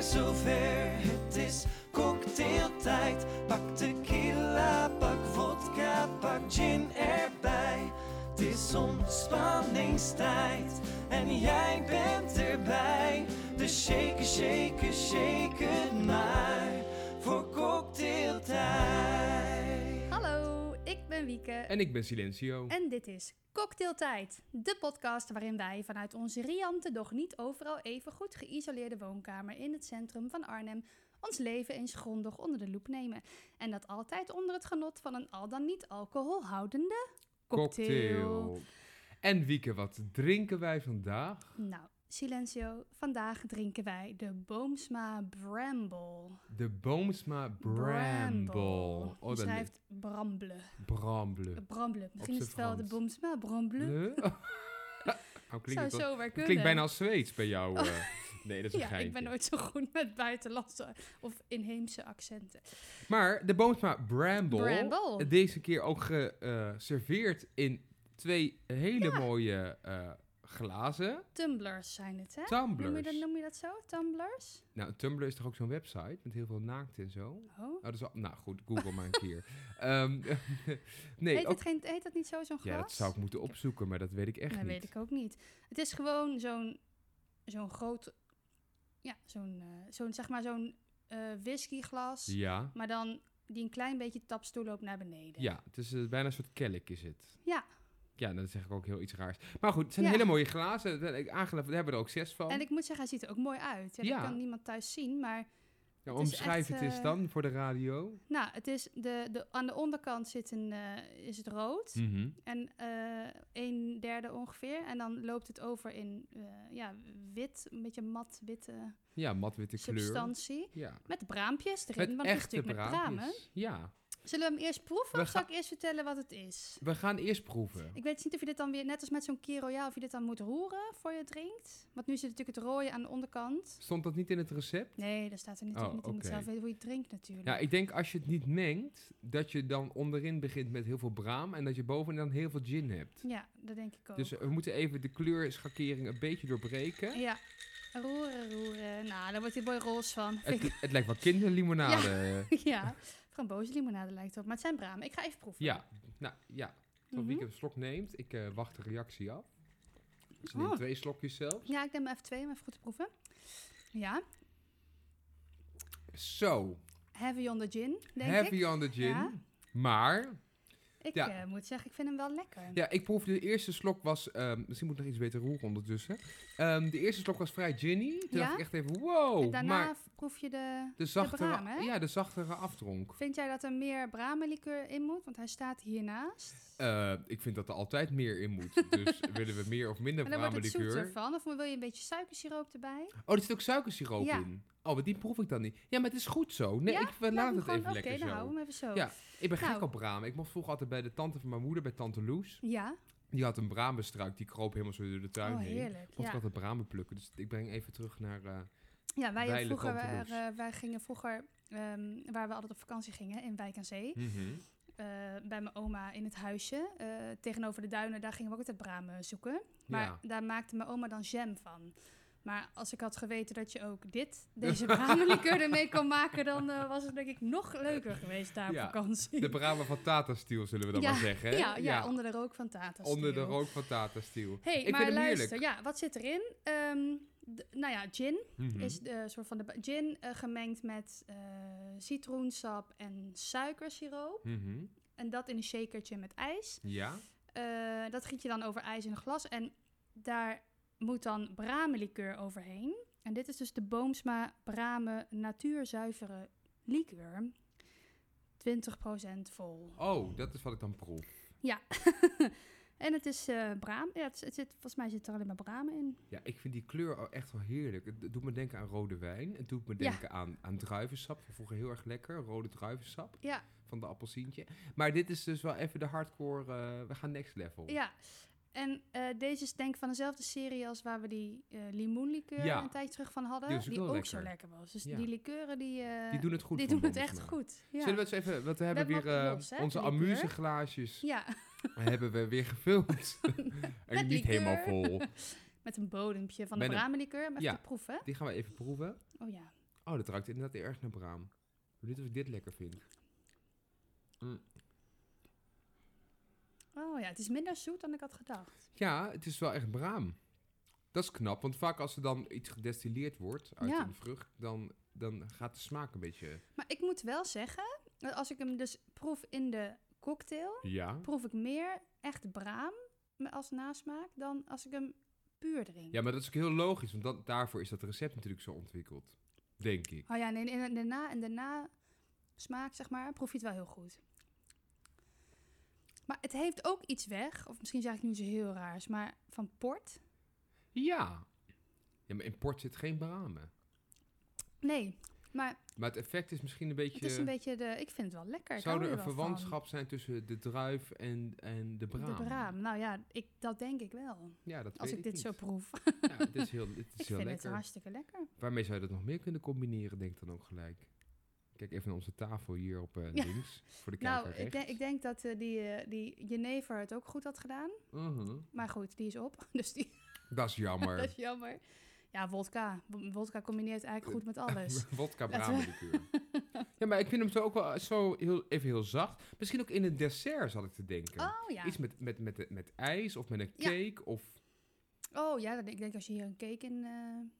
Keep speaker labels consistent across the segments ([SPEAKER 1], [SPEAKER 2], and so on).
[SPEAKER 1] zover. Het is cocktailtijd. Pak tequila, pak vodka, pak gin erbij. Het is ontspanningstijd en jij bent erbij. Dus shake, shake, shake het maar voor cocktailtijd.
[SPEAKER 2] Hallo, ik ben Wieke en,
[SPEAKER 3] En ik ben Silencio.
[SPEAKER 2] dit is Cocktailtijd, de podcast waarin wij vanuit onze riante, doch niet overal even goed geïsoleerde woonkamer in het centrum van Arnhem ons leven eens grondig onder de loep nemen. En dat altijd onder het genot van een al dan niet alcoholhoudende cocktail.
[SPEAKER 3] En Wieke, wat drinken wij vandaag?
[SPEAKER 2] Nou, Silencio, vandaag drinken wij de Boomsma Bramble.
[SPEAKER 3] De Boomsma Bramble.
[SPEAKER 2] Oh,
[SPEAKER 3] dat
[SPEAKER 2] schrijft Bramble.
[SPEAKER 3] li- Bramble.
[SPEAKER 2] Bramble. Misschien is
[SPEAKER 3] z'n
[SPEAKER 2] het wel de
[SPEAKER 3] Frans.
[SPEAKER 2] Boomsma Bramble.
[SPEAKER 3] Le? nou, klinkt
[SPEAKER 2] Zou
[SPEAKER 3] het wel-
[SPEAKER 2] zo maar
[SPEAKER 3] het
[SPEAKER 2] kunnen.
[SPEAKER 3] klinkt bijna als Zweeds bij jou. eh. Nee, dat is een
[SPEAKER 2] Ja,
[SPEAKER 3] geintje.
[SPEAKER 2] ik ben nooit zo goed met buitenlandse of inheemse accenten.
[SPEAKER 3] Maar de Boomsma Bramble,
[SPEAKER 2] Bramble.
[SPEAKER 3] deze keer ook geserveerd in twee hele mooie eh, glazen
[SPEAKER 2] Tumblers zijn het, hè? Noem je,
[SPEAKER 3] tumblers.
[SPEAKER 2] dat, noem je dat zo? Tumblers?
[SPEAKER 3] Nou, een Tumblr is toch ook zo'n website met heel veel naakt en zo?
[SPEAKER 2] Oh.
[SPEAKER 3] Oh, dat is al- nou goed, Google maar een keer. Ehm, nee,
[SPEAKER 2] heet,
[SPEAKER 3] ook-
[SPEAKER 2] het geen, heet dat niet zo, zo'n glas?
[SPEAKER 3] ja, dat zou ik moeten opzoeken, maar dat weet ik echt
[SPEAKER 2] Dat
[SPEAKER 3] niet.
[SPEAKER 2] weet ik ook niet. Het is gewoon zo'n zo'n groot... Ja, zo'n, eh, zo'n zeg maar zo'n eh, whiskyglas.
[SPEAKER 3] Ja,
[SPEAKER 2] Maar dan die een klein beetje taps toeloopt naar beneden.
[SPEAKER 3] ja, het is eh, bijna een soort kelk is het.
[SPEAKER 2] Ja.
[SPEAKER 3] Ja, dan zeg ik ook heel iets raars. Maar goed, het zijn
[SPEAKER 2] Ja.
[SPEAKER 3] hele mooie glazen. Dat- ik- Aangelegd, we hebben er ook zes van.
[SPEAKER 2] En ik moet zeggen, hij ziet er ook mooi uit. Ja,
[SPEAKER 3] Ja.
[SPEAKER 2] Dat kan niemand thuis zien, maar...
[SPEAKER 3] nou,
[SPEAKER 2] het is
[SPEAKER 3] omschrijf
[SPEAKER 2] echt,
[SPEAKER 3] het eens
[SPEAKER 2] eh,
[SPEAKER 3] dan voor de radio.
[SPEAKER 2] Nou, het is de, de, aan de onderkant zit een, eh, is het rood.
[SPEAKER 3] Mhm.
[SPEAKER 2] En eh een derde ongeveer. En dan loopt het over in eh, ja, wit, een beetje mat witte
[SPEAKER 3] Ja, matwitte kleur.
[SPEAKER 2] substantie.
[SPEAKER 3] Ja.
[SPEAKER 2] Met braampjes erin,
[SPEAKER 3] Met
[SPEAKER 2] want het is
[SPEAKER 3] echte
[SPEAKER 2] natuurlijk met bramen.
[SPEAKER 3] braadjes. Ja,
[SPEAKER 2] Zullen we hem eerst proeven
[SPEAKER 3] We
[SPEAKER 2] of
[SPEAKER 3] ga-
[SPEAKER 2] zal ik eerst vertellen wat het is?
[SPEAKER 3] we gaan eerst proeven.
[SPEAKER 2] Ik weet niet of je dit dan weer, net als met zo'n Key Royale, of je dit dan moet roeren voor je het drinkt. Want nu zit natuurlijk het rode aan de onderkant.
[SPEAKER 3] Stond dat niet in het recept?
[SPEAKER 2] Nee, daar staat er niet
[SPEAKER 3] Oh,
[SPEAKER 2] op. want Je moet
[SPEAKER 3] oké.
[SPEAKER 2] zelf weten hoe je het drinkt natuurlijk.
[SPEAKER 3] Ja, ik denk als je het niet mengt, dat je dan onderin begint met heel veel braam en dat je bovenin dan heel veel gin hebt.
[SPEAKER 2] Ja, dat denk ik ook.
[SPEAKER 3] Dus we moeten even de kleurschakering een beetje doorbreken.
[SPEAKER 2] Ja, roeren, roeren. Nou, daar wordt dit mooi roze van. Vind ik-
[SPEAKER 3] Het, het lijkt wel kinderlimonade. Ja.
[SPEAKER 2] ja, frambozenlimonade lijkt het op. Maar het zijn bramen. Ik ga even proeven.
[SPEAKER 3] nou ja. Tot
[SPEAKER 2] Mhm.
[SPEAKER 3] Wieke een slok neemt. Ik eh, wacht de reactie af. Ze neemt
[SPEAKER 2] Oh.
[SPEAKER 3] twee slokjes zelfs.
[SPEAKER 2] Ja, ik neem maar even twee om even goed te proeven. Ja,
[SPEAKER 3] Zo,
[SPEAKER 2] heavy on the gin, denk
[SPEAKER 3] heavy
[SPEAKER 2] ik.
[SPEAKER 3] on the gin.
[SPEAKER 2] Ja.
[SPEAKER 3] Maar,
[SPEAKER 2] Ik
[SPEAKER 3] ja.
[SPEAKER 2] eh, moet zeggen, ik vind hem wel lekker.
[SPEAKER 3] ja, ik proefde de eerste slok was... ehm, misschien moet ik nog iets beter roeren ondertussen. Ehm, de eerste slok was vrij ginny. Toen
[SPEAKER 2] Ja?
[SPEAKER 3] dacht ik echt even, wow.
[SPEAKER 2] en daarna
[SPEAKER 3] oh, maar
[SPEAKER 2] proef je de...
[SPEAKER 3] de zachtere,
[SPEAKER 2] braam, hè?
[SPEAKER 3] ja, de zachtere afdronk.
[SPEAKER 2] Vind jij dat er meer bramenlikeur in moet? Want hij staat hiernaast.
[SPEAKER 3] Eh, ik vind dat er altijd meer in moet. Dus willen we meer of minder
[SPEAKER 2] Maar dan wordt het zoeter
[SPEAKER 3] bramenlikeur?
[SPEAKER 2] van. Of wil je een beetje suikersiroop erbij?
[SPEAKER 3] Oh, er zit ook suikersiroop
[SPEAKER 2] Ja.
[SPEAKER 3] in. Oh, maar die proef ik dan niet. Ja, maar het is goed zo. Nee,
[SPEAKER 2] Ja?
[SPEAKER 3] ik we
[SPEAKER 2] Laat
[SPEAKER 3] laat
[SPEAKER 2] hem
[SPEAKER 3] het
[SPEAKER 2] gewoon-
[SPEAKER 3] even
[SPEAKER 2] Oké,
[SPEAKER 3] lekker
[SPEAKER 2] dan
[SPEAKER 3] zo.
[SPEAKER 2] houden we hem even zo.
[SPEAKER 3] Ja, ik ben
[SPEAKER 2] Nou.
[SPEAKER 3] gek op ramen. Ik mocht vroeger altijd bij de tante van mijn moeder, bij tante Loes.
[SPEAKER 2] Ja?
[SPEAKER 3] Die had een braambestruik, die kroop helemaal zo door de tuin
[SPEAKER 2] Oh,
[SPEAKER 3] heen.
[SPEAKER 2] heerlijk.
[SPEAKER 3] Mocht
[SPEAKER 2] Ja.
[SPEAKER 3] ik altijd bramen plukken. Dus ik breng even terug naar... eh,
[SPEAKER 2] Ja, wij,
[SPEAKER 3] Weilig
[SPEAKER 2] vroeger,
[SPEAKER 3] Tante
[SPEAKER 2] wij,
[SPEAKER 3] Loes.
[SPEAKER 2] eh, wij gingen vroeger, ehm, waar we altijd op vakantie gingen, in Wijk aan Zee,
[SPEAKER 3] mhm.
[SPEAKER 2] eh, bij mijn oma in het huisje, eh, tegenover de duinen, daar gingen we ook altijd bramen zoeken. Maar
[SPEAKER 3] Ja.
[SPEAKER 2] daar maakte mijn oma dan jam van. Maar als ik had geweten dat je ook dit, deze bramenlikeur ermee kon maken, dan eh, was het denk ik nog leuker geweest daar
[SPEAKER 3] Ja,
[SPEAKER 2] op vakantie.
[SPEAKER 3] De bramen van Tata Steel, zullen we dan
[SPEAKER 2] Ja,
[SPEAKER 3] maar zeggen. hè?
[SPEAKER 2] ja, ja, onder de rook van Tata.
[SPEAKER 3] onder de
[SPEAKER 2] Steel.
[SPEAKER 3] rook van Tata Steel.
[SPEAKER 2] hey,
[SPEAKER 3] ik
[SPEAKER 2] maar
[SPEAKER 3] vind hem
[SPEAKER 2] luister,
[SPEAKER 3] heerlijk.
[SPEAKER 2] ja, wat zit erin? Ehm, d- nou ja, gin.
[SPEAKER 3] Mhm.
[SPEAKER 2] Is de soort van de ba- gin eh, gemengd met eh, citroensap en suikersiroop.
[SPEAKER 3] Mhm.
[SPEAKER 2] En dat in een shakertje met ijs.
[SPEAKER 3] Ja,
[SPEAKER 2] Eh, dat giet je dan over ijs in een glas. En daar moet dan bramenlikeur overheen. En dit is dus de Boomsma Bramen natuurzuivere likeur. 20% vol.
[SPEAKER 3] oh, dat is wat ik dan proef.
[SPEAKER 2] En het is eh braam. Ja, het, het zit, volgens mij zit er alleen maar bramen in.
[SPEAKER 3] Ja, ik vind die kleur al echt wel heerlijk. Het het doet me denken aan rode wijn. Het doet me
[SPEAKER 2] Ja.
[SPEAKER 3] denken aan, aan druivensap. Van vroeger heel erg lekker. Rode druivensap
[SPEAKER 2] Ja,
[SPEAKER 3] van de appelsientje. Maar dit is dus wel even de hardcore. eh, we gaan next level.
[SPEAKER 2] ja. En eh, deze is denk ik van dezelfde serie als waar we die eh limoenlikeur
[SPEAKER 3] Ja.
[SPEAKER 2] een tijdje terug van hadden.
[SPEAKER 3] Die is ook
[SPEAKER 2] die ook
[SPEAKER 3] wel
[SPEAKER 2] zo
[SPEAKER 3] lekker.
[SPEAKER 2] lekker was. Dus
[SPEAKER 3] Ja.
[SPEAKER 2] die likeuren die, eh,
[SPEAKER 3] Die doen het goed.
[SPEAKER 2] die
[SPEAKER 3] van
[SPEAKER 2] doen het
[SPEAKER 3] Bommelsma.
[SPEAKER 2] echt goed. Ja.
[SPEAKER 3] Zullen we eens even, want we hebben
[SPEAKER 2] hebben
[SPEAKER 3] weer
[SPEAKER 2] nog
[SPEAKER 3] eh,
[SPEAKER 2] los, hè,
[SPEAKER 3] onze
[SPEAKER 2] de likeur.
[SPEAKER 3] amuseglaasjes
[SPEAKER 2] Ja,
[SPEAKER 3] hebben we weer gevuld. en niet
[SPEAKER 2] likeur.
[SPEAKER 3] helemaal vol.
[SPEAKER 2] met een bodempje van
[SPEAKER 3] Met
[SPEAKER 2] de
[SPEAKER 3] een-
[SPEAKER 2] bramenlikeur. Maar even
[SPEAKER 3] Ja.
[SPEAKER 2] te proeven.
[SPEAKER 3] Die gaan we even proeven.
[SPEAKER 2] Oh ja.
[SPEAKER 3] Oh, dat ruikt inderdaad erg naar braam. Ik weet niet of ik dit lekker vind.
[SPEAKER 2] Oh ja, het is minder zoet dan ik had gedacht.
[SPEAKER 3] Ja, het is wel echt braam. Dat is knap, want vaak als er dan iets gedestilleerd wordt uit
[SPEAKER 2] Ja.
[SPEAKER 3] een vrucht, dan, dan gaat de smaak een beetje...
[SPEAKER 2] Maar ik moet wel zeggen, dat als ik hem dus proef in de cocktail,
[SPEAKER 3] Ja.
[SPEAKER 2] proef ik meer echt braam me- als nasmaak dan als ik hem puur drink.
[SPEAKER 3] Ja, maar dat is ook heel logisch, want dat, daarvoor is dat recept natuurlijk zo ontwikkeld. Denk ik.
[SPEAKER 2] Oh ja, nee, in de, na, in de nasmaak, zeg maar, proef je het wel heel goed. Maar het heeft ook iets weg, of misschien zeg ik nu iets heel raars, maar van port?
[SPEAKER 3] Ja. Ja, maar in port zit geen bramen.
[SPEAKER 2] Nee, maar
[SPEAKER 3] Maar het effect is misschien een beetje...
[SPEAKER 2] het is een beetje de... Ik vind het wel lekker. ik
[SPEAKER 3] Zou
[SPEAKER 2] hou
[SPEAKER 3] er
[SPEAKER 2] wel
[SPEAKER 3] een
[SPEAKER 2] van.
[SPEAKER 3] verwantschap zijn tussen de druif en, en de braam?
[SPEAKER 2] De braam. Nou ja, ik, dat denk ik wel.
[SPEAKER 3] Ja, dat
[SPEAKER 2] Als
[SPEAKER 3] weet
[SPEAKER 2] ik dit
[SPEAKER 3] niet.
[SPEAKER 2] zo proef.
[SPEAKER 3] Ja, het is heel, het
[SPEAKER 2] ik
[SPEAKER 3] is
[SPEAKER 2] vind
[SPEAKER 3] heel
[SPEAKER 2] het
[SPEAKER 3] lekker.
[SPEAKER 2] hartstikke lekker.
[SPEAKER 3] Waarmee zou je dat nog meer kunnen combineren, denk ik dan ook gelijk. Kijk even naar onze tafel hier op eh,
[SPEAKER 2] Ja.
[SPEAKER 3] links, voor de kijker
[SPEAKER 2] Nou, ik,
[SPEAKER 3] rechts.
[SPEAKER 2] denk- ik denk dat eh, die, eh, die Jenever het ook goed had gedaan.
[SPEAKER 3] Mhm.
[SPEAKER 2] Maar goed, die is op. Dus die
[SPEAKER 3] Dat
[SPEAKER 2] dat
[SPEAKER 3] is jammer.
[SPEAKER 2] is jammer. Ja, wodka. W- Wodka combineert eigenlijk goed met alles.
[SPEAKER 3] Wodka
[SPEAKER 2] Laten
[SPEAKER 3] bramenlikeur. ja, maar ik vind hem zo ook wel eh, zo heel, even heel zacht. Misschien ook in een dessert, zat ik te denken.
[SPEAKER 2] Oh ja.
[SPEAKER 3] Iets met, met, met, met ijs of met een
[SPEAKER 2] Ja.
[SPEAKER 3] cake of
[SPEAKER 2] Oh ja, dat- ik denk als je hier een cake in... eh,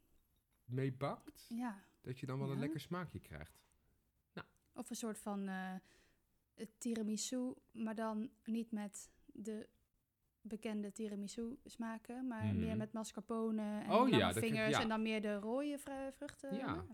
[SPEAKER 3] mee bakt.
[SPEAKER 2] ja,
[SPEAKER 3] Dat je dan wel een
[SPEAKER 2] Ja.
[SPEAKER 3] lekker smaakje krijgt.
[SPEAKER 2] of een soort van eh, het tiramisu, maar dan niet met de bekende tiramisu smaken, maar
[SPEAKER 3] Mhm.
[SPEAKER 2] meer met mascarpone en
[SPEAKER 3] Oh ja,
[SPEAKER 2] lange
[SPEAKER 3] dat vind ik-
[SPEAKER 2] vingers
[SPEAKER 3] ja.
[SPEAKER 2] en dan meer de rode vru- vruchten.
[SPEAKER 3] Ja.
[SPEAKER 2] dat is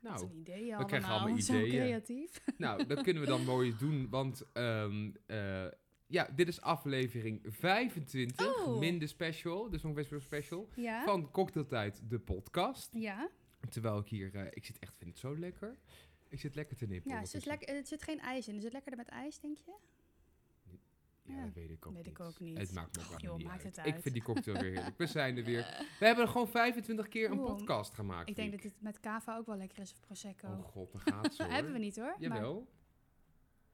[SPEAKER 3] Nou,
[SPEAKER 2] een idee allemaal.
[SPEAKER 3] we krijgen allemaal
[SPEAKER 2] Zo
[SPEAKER 3] ideeën.
[SPEAKER 2] creatief.
[SPEAKER 3] Nou, dat kunnen we dan mooi doen, want ehm, eh, ja, dit is aflevering 25,
[SPEAKER 2] Oh.
[SPEAKER 3] minder special, dus nog best wel special,
[SPEAKER 2] Ja.
[SPEAKER 3] van Cocktailtijd, de podcast.
[SPEAKER 2] Ja,
[SPEAKER 3] Terwijl ik hier, eh, ik zit echt, vind het zo lekker. Ik zit lekker te nippen.
[SPEAKER 2] ja het, zit
[SPEAKER 3] ondertussen.
[SPEAKER 2] lekker, het zit geen ijs in. Is het lekkerder met ijs, denk je?
[SPEAKER 3] Ja,
[SPEAKER 2] Ja,
[SPEAKER 3] dat weet ik ook,
[SPEAKER 2] weet
[SPEAKER 3] niet.
[SPEAKER 2] ik ook niet.
[SPEAKER 3] Het maakt me ook
[SPEAKER 2] Och,
[SPEAKER 3] allemaal
[SPEAKER 2] joh,
[SPEAKER 3] niet
[SPEAKER 2] maakt
[SPEAKER 3] uit.
[SPEAKER 2] het
[SPEAKER 3] Ik
[SPEAKER 2] uit.
[SPEAKER 3] vind die cocktail weer heerlijk. We zijn er weer. We hebben er gewoon 25 keer een
[SPEAKER 2] Oeh.
[SPEAKER 3] podcast gemaakt.
[SPEAKER 2] Ik denk dat
[SPEAKER 3] Riek.
[SPEAKER 2] dit met cava ook wel lekker is of prosecco.
[SPEAKER 3] Oh god, daar gaat ze hoor.
[SPEAKER 2] Hebben we niet hoor. maar-
[SPEAKER 3] Jawel.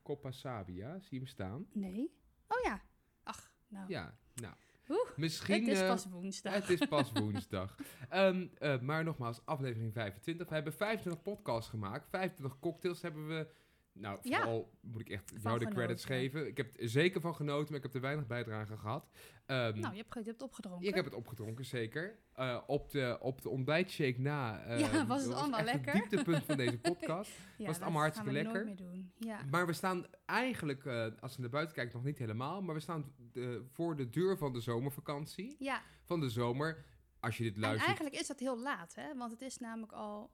[SPEAKER 3] Coppa Sabia, zie je hem staan?
[SPEAKER 2] Nee. Oh ja. Ach, nou.
[SPEAKER 3] Ja, nou.
[SPEAKER 2] Oeh,
[SPEAKER 3] Misschien...
[SPEAKER 2] het is
[SPEAKER 3] eh,
[SPEAKER 2] pas woensdag.
[SPEAKER 3] Het is pas woensdag. Ehm, eh, maar nogmaals, aflevering 25. We hebben 25 podcasts gemaakt. 25 cocktails hebben we. Nou,
[SPEAKER 2] Ja.
[SPEAKER 3] vooral moet ik echt jou de
[SPEAKER 2] genoten.
[SPEAKER 3] credits geven. Ik heb er zeker van genoten, maar ik heb er weinig bijdrage aan gehad. Ehm,
[SPEAKER 2] nou, je hebt, ge- je hebt opgedronken.
[SPEAKER 3] ik heb het opgedronken, zeker. Eh, op, de, op de ontbijtshake na. ehm,
[SPEAKER 2] Ja, was het
[SPEAKER 3] dat
[SPEAKER 2] allemaal
[SPEAKER 3] echt
[SPEAKER 2] lekker?
[SPEAKER 3] Het dieptepunt van deze podcast.
[SPEAKER 2] Ja,
[SPEAKER 3] was het allemaal
[SPEAKER 2] dat
[SPEAKER 3] hartstikke
[SPEAKER 2] gaan we
[SPEAKER 3] lekker? Mm.
[SPEAKER 2] nooit meer doen. Ja.
[SPEAKER 3] Maar we staan eigenlijk, eh, als je naar buiten kijkt, nog niet helemaal. Maar we staan eh, voor de deur van de zomervakantie.
[SPEAKER 2] ja.
[SPEAKER 3] Van de zomer. Als je dit
[SPEAKER 2] En
[SPEAKER 3] luistert.
[SPEAKER 2] eigenlijk is dat heel laat, hè? Want het is namelijk al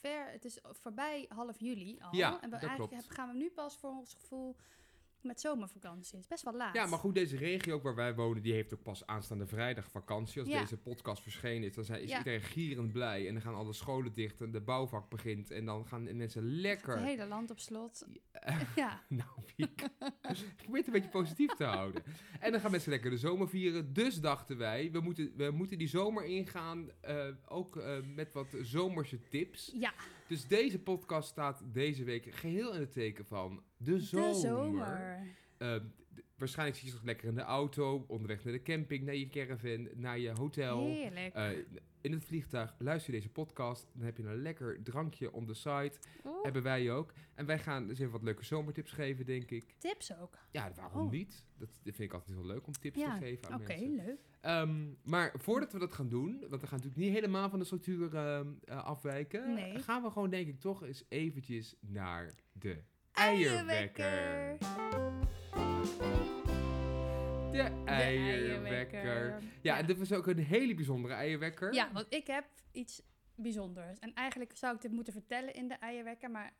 [SPEAKER 2] ver, het is voorbij half juli al.
[SPEAKER 3] Ja,
[SPEAKER 2] en we
[SPEAKER 3] dat
[SPEAKER 2] eigenlijk
[SPEAKER 3] klopt.
[SPEAKER 2] heb- gaan we nu pas voor ons gevoel met zomervakantie. Het is best wel laat.
[SPEAKER 3] Ja, maar goed, deze regio ook waar wij wonen, die heeft ook pas aanstaande vrijdag vakantie. Als
[SPEAKER 2] Ja.
[SPEAKER 3] deze podcast verschenen is, dan zijn, is
[SPEAKER 2] Ja.
[SPEAKER 3] iedereen gierend blij. En dan gaan alle scholen dicht en de bouwvak begint. En dan gaan de mensen
[SPEAKER 2] Het
[SPEAKER 3] lekker...
[SPEAKER 2] hele land op slot.
[SPEAKER 3] Eh,
[SPEAKER 2] Ja,
[SPEAKER 3] nou, Wiek. ik probeer het een beetje positief te houden. En dan gaan mensen lekker de zomer vieren. Dus dachten wij, we moeten, we moeten die zomer ingaan, eh, ook eh, met wat zomerse tips.
[SPEAKER 2] ja
[SPEAKER 3] Dus deze podcast staat deze week geheel in het teken van de
[SPEAKER 2] de zomer.
[SPEAKER 3] eh, d- waarschijnlijk zit je nog lekker in de auto, onderweg naar de camping, naar je caravan, naar je hotel.
[SPEAKER 2] Heerlijk.
[SPEAKER 3] Eh, in het vliegtuig luister je deze podcast. Dan heb je een lekker drankje on the side.
[SPEAKER 2] Oeh,
[SPEAKER 3] Hebben wij ook. En wij gaan eens even wat leuke zomertips geven, denk ik.
[SPEAKER 2] tips ook.
[SPEAKER 3] Ja, waarom
[SPEAKER 2] Oh.
[SPEAKER 3] niet? Dat dat vind ik altijd wel leuk om tips
[SPEAKER 2] Ja,
[SPEAKER 3] te geven aan
[SPEAKER 2] Oké,
[SPEAKER 3] mensen.
[SPEAKER 2] leuk.
[SPEAKER 3] Ehm, maar voordat we dat gaan doen, want we gaan natuurlijk niet helemaal van de structuur ehm, eh, afwijken,
[SPEAKER 2] Nee.
[SPEAKER 3] gaan we gewoon denk ik toch eens eventjes naar de
[SPEAKER 2] Eierwekker.
[SPEAKER 3] eierwekker. De
[SPEAKER 2] De
[SPEAKER 3] eierwekker. Ja, en dit was ook een hele bijzondere eierwekker.
[SPEAKER 2] Ja, want ik heb iets bijzonders. En eigenlijk zou ik dit moeten vertellen in de eierwekker, maar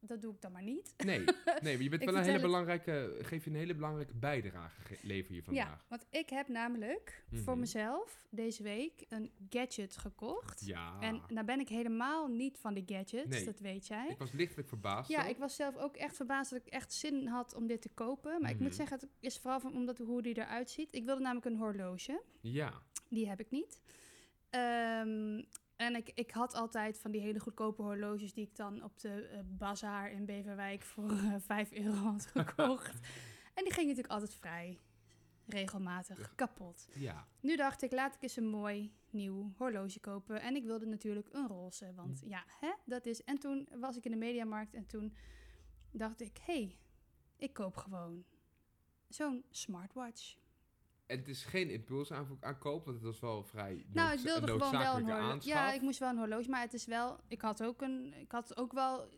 [SPEAKER 2] dat doe ik dan maar niet.
[SPEAKER 3] Nee, nee, maar je bent
[SPEAKER 2] Ik
[SPEAKER 3] wel een
[SPEAKER 2] vertel
[SPEAKER 3] hele
[SPEAKER 2] het-
[SPEAKER 3] belangrijke, geef je een hele belangrijke bijdrage, ge- lever je
[SPEAKER 2] Ja,
[SPEAKER 3] vandaag.
[SPEAKER 2] want ik heb namelijk voor
[SPEAKER 3] Mhm.
[SPEAKER 2] mezelf deze week een gadget gekocht.
[SPEAKER 3] Ja.
[SPEAKER 2] En nou ben ik helemaal niet van de gadgets,
[SPEAKER 3] Nee.
[SPEAKER 2] dat weet jij.
[SPEAKER 3] ik was lichtelijk verbaasd.
[SPEAKER 2] ja,
[SPEAKER 3] ook.
[SPEAKER 2] ik was zelf ook echt verbaasd dat ik echt zin had om dit te kopen. Maar ik moet
[SPEAKER 3] Mhm.
[SPEAKER 2] zeggen, het is vooral van, omdat hoe die eruit ziet. Ik wilde namelijk een horloge.
[SPEAKER 3] ja.
[SPEAKER 2] Die heb ik niet. Ehm, en ik, ik had altijd van die hele goedkope horloges die ik dan op de eh, bazaar in Beverwijk voor eh, 5 euro had gekocht. en die gingen natuurlijk altijd vrij. regelmatig kapot.
[SPEAKER 3] Ja.
[SPEAKER 2] Nu dacht ik, laat ik eens een mooi nieuw horloge kopen. En ik wilde natuurlijk een roze, want ja, hè, dat is... En toen was ik in de mediamarkt en toen dacht ik... Hé, hey, ik koop gewoon zo'n smartwatch.
[SPEAKER 3] En het is geen impuls aan, aankoop, want het was wel vrij
[SPEAKER 2] Nou,
[SPEAKER 3] noodza-
[SPEAKER 2] ik wilde gewoon wel een
[SPEAKER 3] noodzakelijke
[SPEAKER 2] horloge.
[SPEAKER 3] aanschaf.
[SPEAKER 2] Ja, ik moest wel een horloge, maar het is wel. Ik had ook een. Ik had ook wel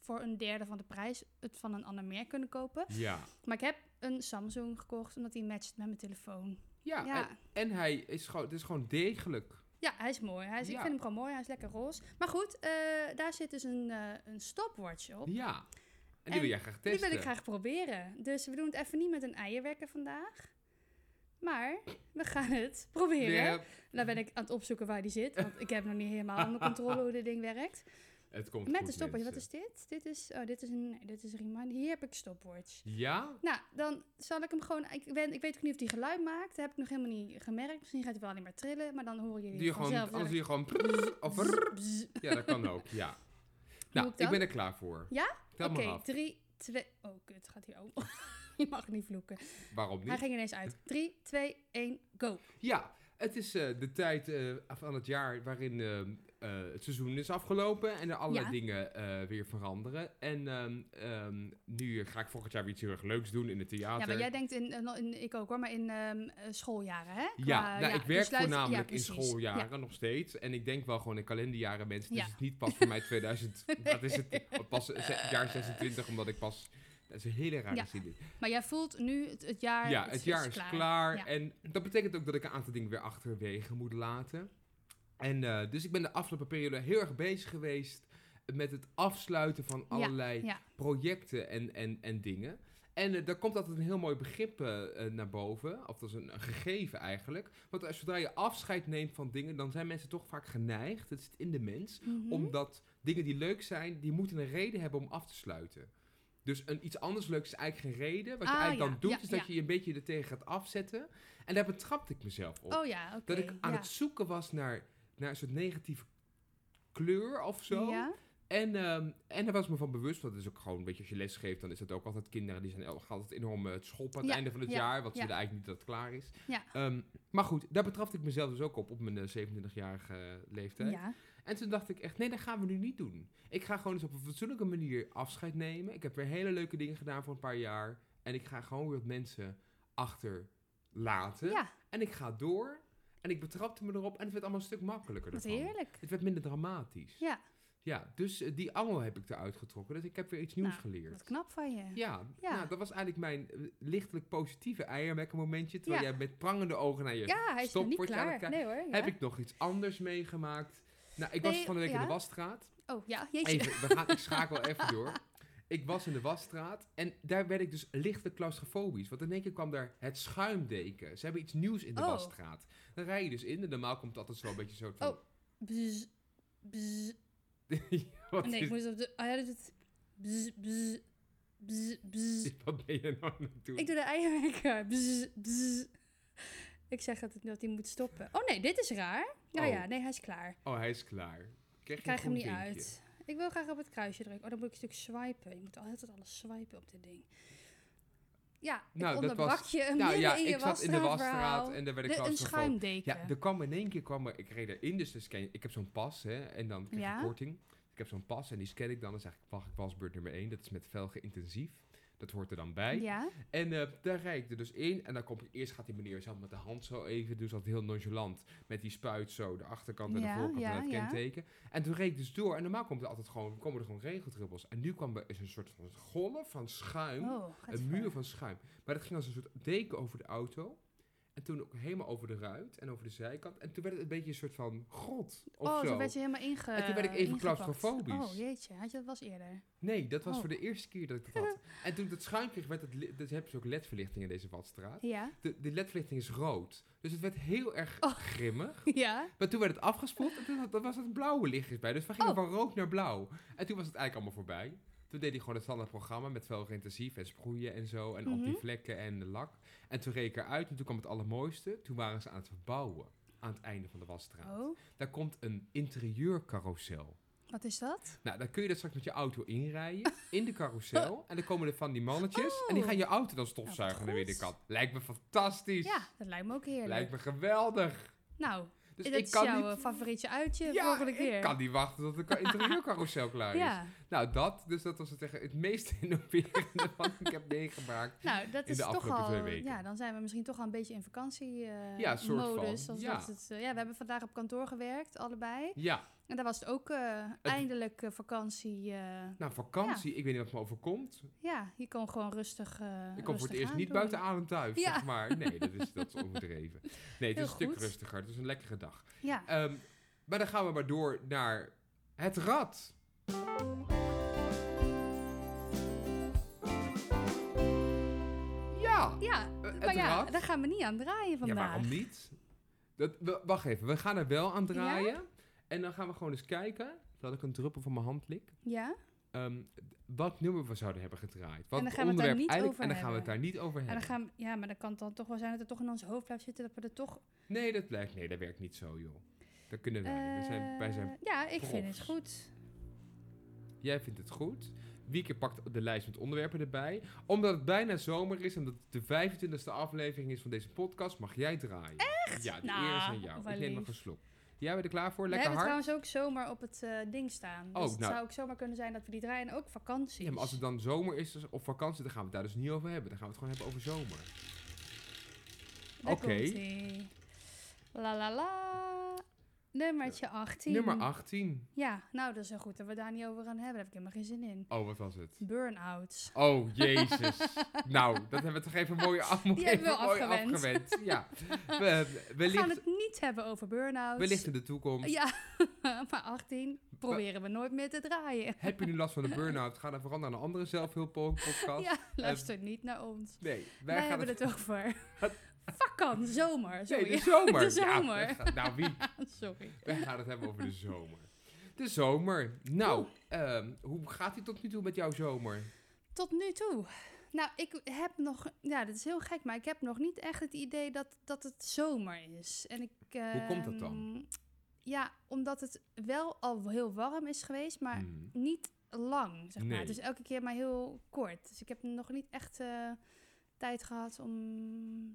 [SPEAKER 2] voor een derde van de prijs het van een ander merk kunnen kopen.
[SPEAKER 3] Ja,
[SPEAKER 2] Maar ik heb een Samsung gekocht omdat die matcht met mijn telefoon.
[SPEAKER 3] ja,
[SPEAKER 2] Ja.
[SPEAKER 3] En, en hij is gewoon, het is gewoon degelijk.
[SPEAKER 2] Ja, hij is mooi. Hij is, Ik
[SPEAKER 3] Ja.
[SPEAKER 2] vind hem gewoon mooi. Hij is lekker roze. Maar goed, eh, daar zit dus een, eh, een stopwatch op.
[SPEAKER 3] Ja. En,
[SPEAKER 2] En
[SPEAKER 3] die wil jij graag
[SPEAKER 2] Die
[SPEAKER 3] testen.
[SPEAKER 2] wil ik graag proberen. Dus we doen het even niet met een eierwekker vandaag. Maar we gaan het proberen.
[SPEAKER 3] Ja,
[SPEAKER 2] Daar ben ik aan het opzoeken waar die zit. Want ik heb nog niet helemaal onder controle hoe dit ding werkt.
[SPEAKER 3] het komt
[SPEAKER 2] Met
[SPEAKER 3] goed,
[SPEAKER 2] een stopwatch. Wat
[SPEAKER 3] mensen.
[SPEAKER 2] is dit? Dit is, oh, dit is een, nee, dit is een reminder. Hier heb ik stopwatch.
[SPEAKER 3] Ja?
[SPEAKER 2] Nou, dan zal ik hem gewoon. Ik, ben, ik weet ook niet of die geluid maakt. Dat heb ik nog helemaal niet gemerkt. Misschien gaat hij wel alleen maar trillen, maar dan horen
[SPEAKER 3] Doe
[SPEAKER 2] jullie
[SPEAKER 3] je gewoon,
[SPEAKER 2] vanzelf.
[SPEAKER 3] anders doe je gewoon... prrr Of
[SPEAKER 2] Bzz,
[SPEAKER 3] rrr.
[SPEAKER 2] bzz.
[SPEAKER 3] Ja, dat kan ook, ja. Nou,
[SPEAKER 2] ik
[SPEAKER 3] ik,
[SPEAKER 2] dan?
[SPEAKER 3] ben er klaar voor.
[SPEAKER 2] Ja?
[SPEAKER 3] Tel
[SPEAKER 2] Oké,
[SPEAKER 3] maar af.
[SPEAKER 2] drie, twee. Oh, kut, gaat hier ook. je mag niet vloeken.
[SPEAKER 3] Waarom
[SPEAKER 2] Hij
[SPEAKER 3] niet?
[SPEAKER 2] ging ineens uit. Drie, twee, één, go.
[SPEAKER 3] Ja, het is eh, de tijd eh, van het jaar waarin eh, eh, het seizoen is afgelopen en er allerlei
[SPEAKER 2] Ja.
[SPEAKER 3] dingen eh, weer veranderen. En ehm, ehm, nu ga ik volgend jaar weer iets heel erg leuks doen in het theater.
[SPEAKER 2] Ja, maar jij denkt in, in, in- ik ook hoor, maar in ehm, eh, schooljaren, hè? Qua-
[SPEAKER 3] Ja, nou, ik
[SPEAKER 2] dus
[SPEAKER 3] werk
[SPEAKER 2] luister- ja,
[SPEAKER 3] voornamelijk in
[SPEAKER 2] precies.
[SPEAKER 3] schooljaren nog steeds. En ik denk wel gewoon in kalenderjaren mensen. Dus
[SPEAKER 2] Ja.
[SPEAKER 3] het is niet pas voor mij 2000. Dat is het pas het jaar 26, omdat ik pas... Dat is een hele rare
[SPEAKER 2] Ja.
[SPEAKER 3] zin dit.
[SPEAKER 2] Ja, maar jij voelt nu het, het jaar.
[SPEAKER 3] Ja, het jaar is klaar.
[SPEAKER 2] Ja.
[SPEAKER 3] En dat betekent ook dat ik een aantal dingen weer achterwege moet laten. En eh, dus ik ben de afgelopen periode heel erg bezig geweest met het afsluiten van allerlei
[SPEAKER 2] ja.
[SPEAKER 3] projecten en, en, en dingen. En eh, daar komt altijd een heel mooi begrip eh, eh, naar boven. Of dat is een, een gegeven eigenlijk. Want als, zodra je afscheid neemt van dingen, dan zijn mensen toch vaak geneigd. Het zit in de mens
[SPEAKER 2] Mhm.
[SPEAKER 3] omdat dingen die leuk zijn, die moeten een reden hebben om af te sluiten. Dus een, iets anders leuks is eigenlijk geen reden. Wat je
[SPEAKER 2] Ah,
[SPEAKER 3] eigenlijk
[SPEAKER 2] ja,
[SPEAKER 3] dan doet,
[SPEAKER 2] ja,
[SPEAKER 3] is dat
[SPEAKER 2] ja.
[SPEAKER 3] je je een beetje er tegen gaat afzetten. En daar betrapte ik mezelf op.
[SPEAKER 2] Oh ja, oké.
[SPEAKER 3] dat ik aan
[SPEAKER 2] ja.
[SPEAKER 3] het zoeken was naar, naar een soort negatieve kleur of zo.
[SPEAKER 2] Ja,
[SPEAKER 3] En, ehm, en daar was ik me van bewust. Want het is ook gewoon, weet je, als je les geeft, dan is dat ook altijd kinderen. Die zijn el- altijd enorm eh, het schop aan het
[SPEAKER 2] Ja,
[SPEAKER 3] einde van het
[SPEAKER 2] ja,
[SPEAKER 3] jaar. Wat
[SPEAKER 2] ja.
[SPEAKER 3] ze er eigenlijk niet dat het klaar is.
[SPEAKER 2] Ja.
[SPEAKER 3] Ehm, maar goed, daar betrapte ik mezelf dus ook op, op mijn eh, 27-jarige leeftijd.
[SPEAKER 2] ja.
[SPEAKER 3] En toen dacht ik echt, nee, dat gaan we nu niet doen. Ik ga gewoon eens op een fatsoenlijke manier afscheid nemen. Ik heb weer hele leuke dingen gedaan voor een paar jaar. En ik ga gewoon weer wat mensen achterlaten.
[SPEAKER 2] ja
[SPEAKER 3] En ik ga door. En ik betrapte me erop. En het werd allemaal een stuk makkelijker
[SPEAKER 2] wat
[SPEAKER 3] ervan.
[SPEAKER 2] heerlijk.
[SPEAKER 3] Het werd minder dramatisch.
[SPEAKER 2] Ja.
[SPEAKER 3] Ja, dus eh, die angel heb ik eruit getrokken. Dus ik heb weer iets nieuws
[SPEAKER 2] Nou,
[SPEAKER 3] geleerd.
[SPEAKER 2] Wat knap van je.
[SPEAKER 3] Ja,
[SPEAKER 2] Ja.
[SPEAKER 3] Nou, dat was eigenlijk mijn eh, lichtelijk positieve eierwekker momentje. Terwijl
[SPEAKER 2] Ja.
[SPEAKER 3] jij met prangende ogen naar je...
[SPEAKER 2] Ja, hij is nog niet
[SPEAKER 3] Stopwatch aan
[SPEAKER 2] klaar.
[SPEAKER 3] elkaar.
[SPEAKER 2] Nee hoor. ja.
[SPEAKER 3] Heb ik nog iets anders meegemaakt? Nou, ik was
[SPEAKER 2] Nee,
[SPEAKER 3] van de week in
[SPEAKER 2] ja.
[SPEAKER 3] de wasstraat.
[SPEAKER 2] Oh ja, jeetje.
[SPEAKER 3] Even, we gaan, ik schakel even door. Ik was in de wasstraat en daar werd ik dus lichtelijk claustrofobisch. Want in één keer kwam daar het schuimdeken. Ze hebben iets nieuws in de
[SPEAKER 2] Oh.
[SPEAKER 3] wasstraat. Dan rij je dus in en normaal komt het altijd zo'n beetje zo van...
[SPEAKER 2] Oh. Bzz, bzz.
[SPEAKER 3] wat,
[SPEAKER 2] Nee, ik
[SPEAKER 3] is,
[SPEAKER 2] moest op de... Oh ja, dat doet het. Bzz, bzz, bzz, bzz.
[SPEAKER 3] wat ben je nou aan het doen?
[SPEAKER 2] Ik doe de eierwekker. Bzz, bzz. Ik zeg dat, het- dat hij moet stoppen. Oh nee, dit is raar. Ja,
[SPEAKER 3] Oh.
[SPEAKER 2] ja, nee, hij is klaar.
[SPEAKER 3] Oh, hij is klaar. Ik krijg,
[SPEAKER 2] Ik krijg hem
[SPEAKER 3] een
[SPEAKER 2] niet
[SPEAKER 3] groen vinkje.
[SPEAKER 2] uit. Ik wil graag op het kruisje drukken. Oh, dan moet ik natuurlijk swipen. Je moet altijd alles swipen op dit ding. Ja, ik
[SPEAKER 3] Nou, dat
[SPEAKER 2] onderbrak
[SPEAKER 3] was-
[SPEAKER 2] je een
[SPEAKER 3] Nou
[SPEAKER 2] midden
[SPEAKER 3] ja,
[SPEAKER 2] in je
[SPEAKER 3] ik zat in de wasstraat
[SPEAKER 2] wasstraatverhaal.
[SPEAKER 3] en daar werd ik
[SPEAKER 2] De- een
[SPEAKER 3] claustrofobisch.
[SPEAKER 2] schuimdeken.
[SPEAKER 3] Ja, er kwam in één keer kwam er, ik reed erin, dus dan scan je- ik heb zo'n pas hè, en dan krijg je
[SPEAKER 2] Ja.
[SPEAKER 3] korting. Ik heb zo'n pas en die scan ik dan, dan zeg ik, wacht, ik pasbeurt nummer 1, dat is met velgen intensief. Dat hoort er dan bij.
[SPEAKER 2] Ja,
[SPEAKER 3] En eh, daar rijd ik er dus in en dan komt eerst gaat die meneer zelf met de hand zo even, dus altijd heel nonchalant, met die spuit zo, de achterkant en
[SPEAKER 2] Ja,
[SPEAKER 3] de voorkant
[SPEAKER 2] ja,
[SPEAKER 3] en het
[SPEAKER 2] ja.
[SPEAKER 3] kenteken. En toen reed ik dus door en normaal komt er altijd gewoon, komen er gewoon regeldrubbels. En nu kwam er is een soort van golf van schuim
[SPEAKER 2] oh, gaat
[SPEAKER 3] een
[SPEAKER 2] ver.
[SPEAKER 3] muur van schuim. Maar dat ging als een soort deken over de auto. En toen ook helemaal over de ruit en over de zijkant. En toen werd het een beetje een soort van grot of
[SPEAKER 2] Oh,
[SPEAKER 3] zo.
[SPEAKER 2] toen werd je helemaal inge...
[SPEAKER 3] En toen werd ik even
[SPEAKER 2] ingepakt.
[SPEAKER 3] claustrofobisch.
[SPEAKER 2] Oh, jeetje, had je dat was eerder.
[SPEAKER 3] Nee, dat was
[SPEAKER 2] Oh.
[SPEAKER 3] voor de eerste keer dat ik dat had. en toen ik dat schuim kreeg, werd het... li- Dus heb je ook ledverlichting in deze watstraat.
[SPEAKER 2] Ja,
[SPEAKER 3] De, de ledverlichting is rood. Dus het werd heel erg
[SPEAKER 2] Oh.
[SPEAKER 3] grimmig.
[SPEAKER 2] ja.
[SPEAKER 3] Maar toen werd het afgespot en toen had, dan was het blauwe lichtjes bij. Dus we
[SPEAKER 2] Oh.
[SPEAKER 3] gingen van rood naar blauw. En toen was het eigenlijk allemaal voorbij. Toen deed hij gewoon het standaard programma met veel intensief en sproeien en zo. En
[SPEAKER 2] Mhm.
[SPEAKER 3] antivlekken en lak. En toen reed ik eruit en toen kwam het allermooiste. Toen waren ze aan het verbouwen aan het einde van de wasstraat.
[SPEAKER 2] Oh,
[SPEAKER 3] Daar komt een interieurcarousel.
[SPEAKER 2] Wat is dat?
[SPEAKER 3] Nou, dan kun je dat straks met je auto inrijden, in de carousel. En dan komen er van die mannetjes en die
[SPEAKER 2] Oh.
[SPEAKER 3] gaan je auto dan
[SPEAKER 2] Nou,
[SPEAKER 3] stofzuigen
[SPEAKER 2] wat
[SPEAKER 3] naar weer de
[SPEAKER 2] goed.
[SPEAKER 3] kant. Lijkt me fantastisch.
[SPEAKER 2] Ja, dat lijkt me ook heerlijk.
[SPEAKER 3] Lijkt me geweldig.
[SPEAKER 2] Nou,
[SPEAKER 3] Dus
[SPEAKER 2] dat
[SPEAKER 3] ik
[SPEAKER 2] is
[SPEAKER 3] kan
[SPEAKER 2] jouw
[SPEAKER 3] niet...
[SPEAKER 2] eh, favorietje uitje
[SPEAKER 3] Ja,
[SPEAKER 2] volgende keer.
[SPEAKER 3] ik kan niet wachten tot de ka- interieurcarousel klaar is.
[SPEAKER 2] Ja,
[SPEAKER 3] Nou, dat, dus dat was het, echt het meest innoverende wat ik heb meegemaakt.
[SPEAKER 2] nou dat
[SPEAKER 3] In
[SPEAKER 2] is
[SPEAKER 3] de
[SPEAKER 2] toch
[SPEAKER 3] afgelopen
[SPEAKER 2] al.
[SPEAKER 3] twee weken.
[SPEAKER 2] Ja, dan zijn we misschien toch al een beetje in eh, vakantiemodus.
[SPEAKER 3] Ja, soort van. Ja.
[SPEAKER 2] ja. Het, eh, ja, we hebben vandaag op kantoor gewerkt, allebei.
[SPEAKER 3] Ja,
[SPEAKER 2] En daar was het ook eh, eindelijk eh, vakantie. eh,
[SPEAKER 3] nou vakantie, ik weet niet wat me overkomt.
[SPEAKER 2] ja, je kon gewoon rustig. eh
[SPEAKER 3] Ik kom voor
[SPEAKER 2] rustig
[SPEAKER 3] het eerst niet
[SPEAKER 2] aandoen.
[SPEAKER 3] buiten adem thuis,
[SPEAKER 2] Ja.
[SPEAKER 3] zeg maar. Nee, dat is, dat is overdreven. Nee, het
[SPEAKER 2] Heel
[SPEAKER 3] is een stuk
[SPEAKER 2] goed.
[SPEAKER 3] rustiger. Het is een lekkere dag.
[SPEAKER 2] Ja,
[SPEAKER 3] Ehm, maar dan gaan we maar door naar het rad. eh, Ja,
[SPEAKER 2] ja
[SPEAKER 3] eh, het
[SPEAKER 2] maar ja,
[SPEAKER 3] rad.
[SPEAKER 2] daar gaan we niet aan draaien
[SPEAKER 3] Ja,
[SPEAKER 2] vandaag.
[SPEAKER 3] waarom niet? Dat, we- wacht even, we gaan er wel aan draaien. En dan gaan we gewoon eens kijken, dat ik een druppel van mijn hand lik,
[SPEAKER 2] Ja?
[SPEAKER 3] ehm, d- wat nummer we zouden hebben gedraaid. Wat
[SPEAKER 2] En dan gaan we het daar
[SPEAKER 3] onderwerp
[SPEAKER 2] niet
[SPEAKER 3] eigenlijk-
[SPEAKER 2] over
[SPEAKER 3] En dan gaan we het
[SPEAKER 2] hebben.
[SPEAKER 3] daar niet over
[SPEAKER 2] En dan
[SPEAKER 3] hebben.
[SPEAKER 2] gaan we- ja, maar dan kan het dan toch wel zijn dat het toch in ons hoofd blijft zitten dat we er toch...
[SPEAKER 3] Nee, dat blijkt. Nee, dat werkt niet zo, joh. Dat kunnen wij. wij, zijn, wij zijn.
[SPEAKER 2] Eh, ja, ik vind
[SPEAKER 3] profs.
[SPEAKER 2] het goed.
[SPEAKER 3] Jij vindt het goed. Wieke pakt de lijst met onderwerpen erbij. Omdat het bijna zomer is en dat het de 25e aflevering is van deze podcast, mag jij draaien. Echt? Ja, die eer is
[SPEAKER 2] Nou,
[SPEAKER 3] aan jou.
[SPEAKER 2] wat
[SPEAKER 3] Ik neem nog
[SPEAKER 2] lief.
[SPEAKER 3] een slok. Jij bent er klaar voor?
[SPEAKER 2] We
[SPEAKER 3] Lekker
[SPEAKER 2] hebben
[SPEAKER 3] hard.
[SPEAKER 2] trouwens ook zomaar op het eh, ding staan. Dus
[SPEAKER 3] Oh,
[SPEAKER 2] het
[SPEAKER 3] nou.
[SPEAKER 2] zou ook zomaar kunnen zijn dat we die draaien. En ook vakanties.
[SPEAKER 3] Ja, maar als het dan zomer is dus- of vakantie, dan gaan we het daar dus niet over hebben. Dan gaan we het gewoon hebben over zomer.
[SPEAKER 2] Daar
[SPEAKER 3] Oké.
[SPEAKER 2] komt-ie. La la la. Nummertje 18.
[SPEAKER 3] Nummer 18.
[SPEAKER 2] Ja, nou dat is heel goed dat we daar niet over gaan hebben. Daar heb ik helemaal geen zin in.
[SPEAKER 3] Oh, wat was het?
[SPEAKER 2] Burn-outs.
[SPEAKER 3] Oh, jezus. nou, dat hebben we toch even mooi, af, mooi
[SPEAKER 2] hebben we
[SPEAKER 3] even mooi
[SPEAKER 2] afgewend.
[SPEAKER 3] afgewend. Ja. We,
[SPEAKER 2] We gaan
[SPEAKER 3] wellicht,
[SPEAKER 2] het niet hebben over burn-outs.
[SPEAKER 3] wellicht in de toekomst.
[SPEAKER 2] Ja, maar 18 proberen we nooit meer te draaien.
[SPEAKER 3] Heb je nu last van de burn-out? Ga dan vooral naar een andere zelfhulppodcast.
[SPEAKER 2] Ja, luister niet naar ons.
[SPEAKER 3] Nee, wij,
[SPEAKER 2] eh, Wij,
[SPEAKER 3] gaan
[SPEAKER 2] hebben het over vakkan, zomer.
[SPEAKER 3] Nee,
[SPEAKER 2] Sorry.
[SPEAKER 3] de zomer.
[SPEAKER 2] De zomer.
[SPEAKER 3] Ja, wij gaan- nou, wie?
[SPEAKER 2] sorry.
[SPEAKER 3] Wij gaan het hebben over de zomer. De zomer. Nou, ehm, hoe gaat het tot nu toe met jouw zomer?
[SPEAKER 2] Tot nu toe. Nou, ik heb nog... Ja, dat is heel gek, maar ik heb nog niet echt het idee dat, dat het zomer is. En ik,
[SPEAKER 3] Hoe komt dat dan?
[SPEAKER 2] ehm, Ja, omdat het wel al heel warm is geweest, maar
[SPEAKER 3] Hmm.
[SPEAKER 2] niet lang, zeg
[SPEAKER 3] Nee.
[SPEAKER 2] maar. Dus elke keer maar heel kort. Dus ik heb nog niet echt eh, tijd gehad om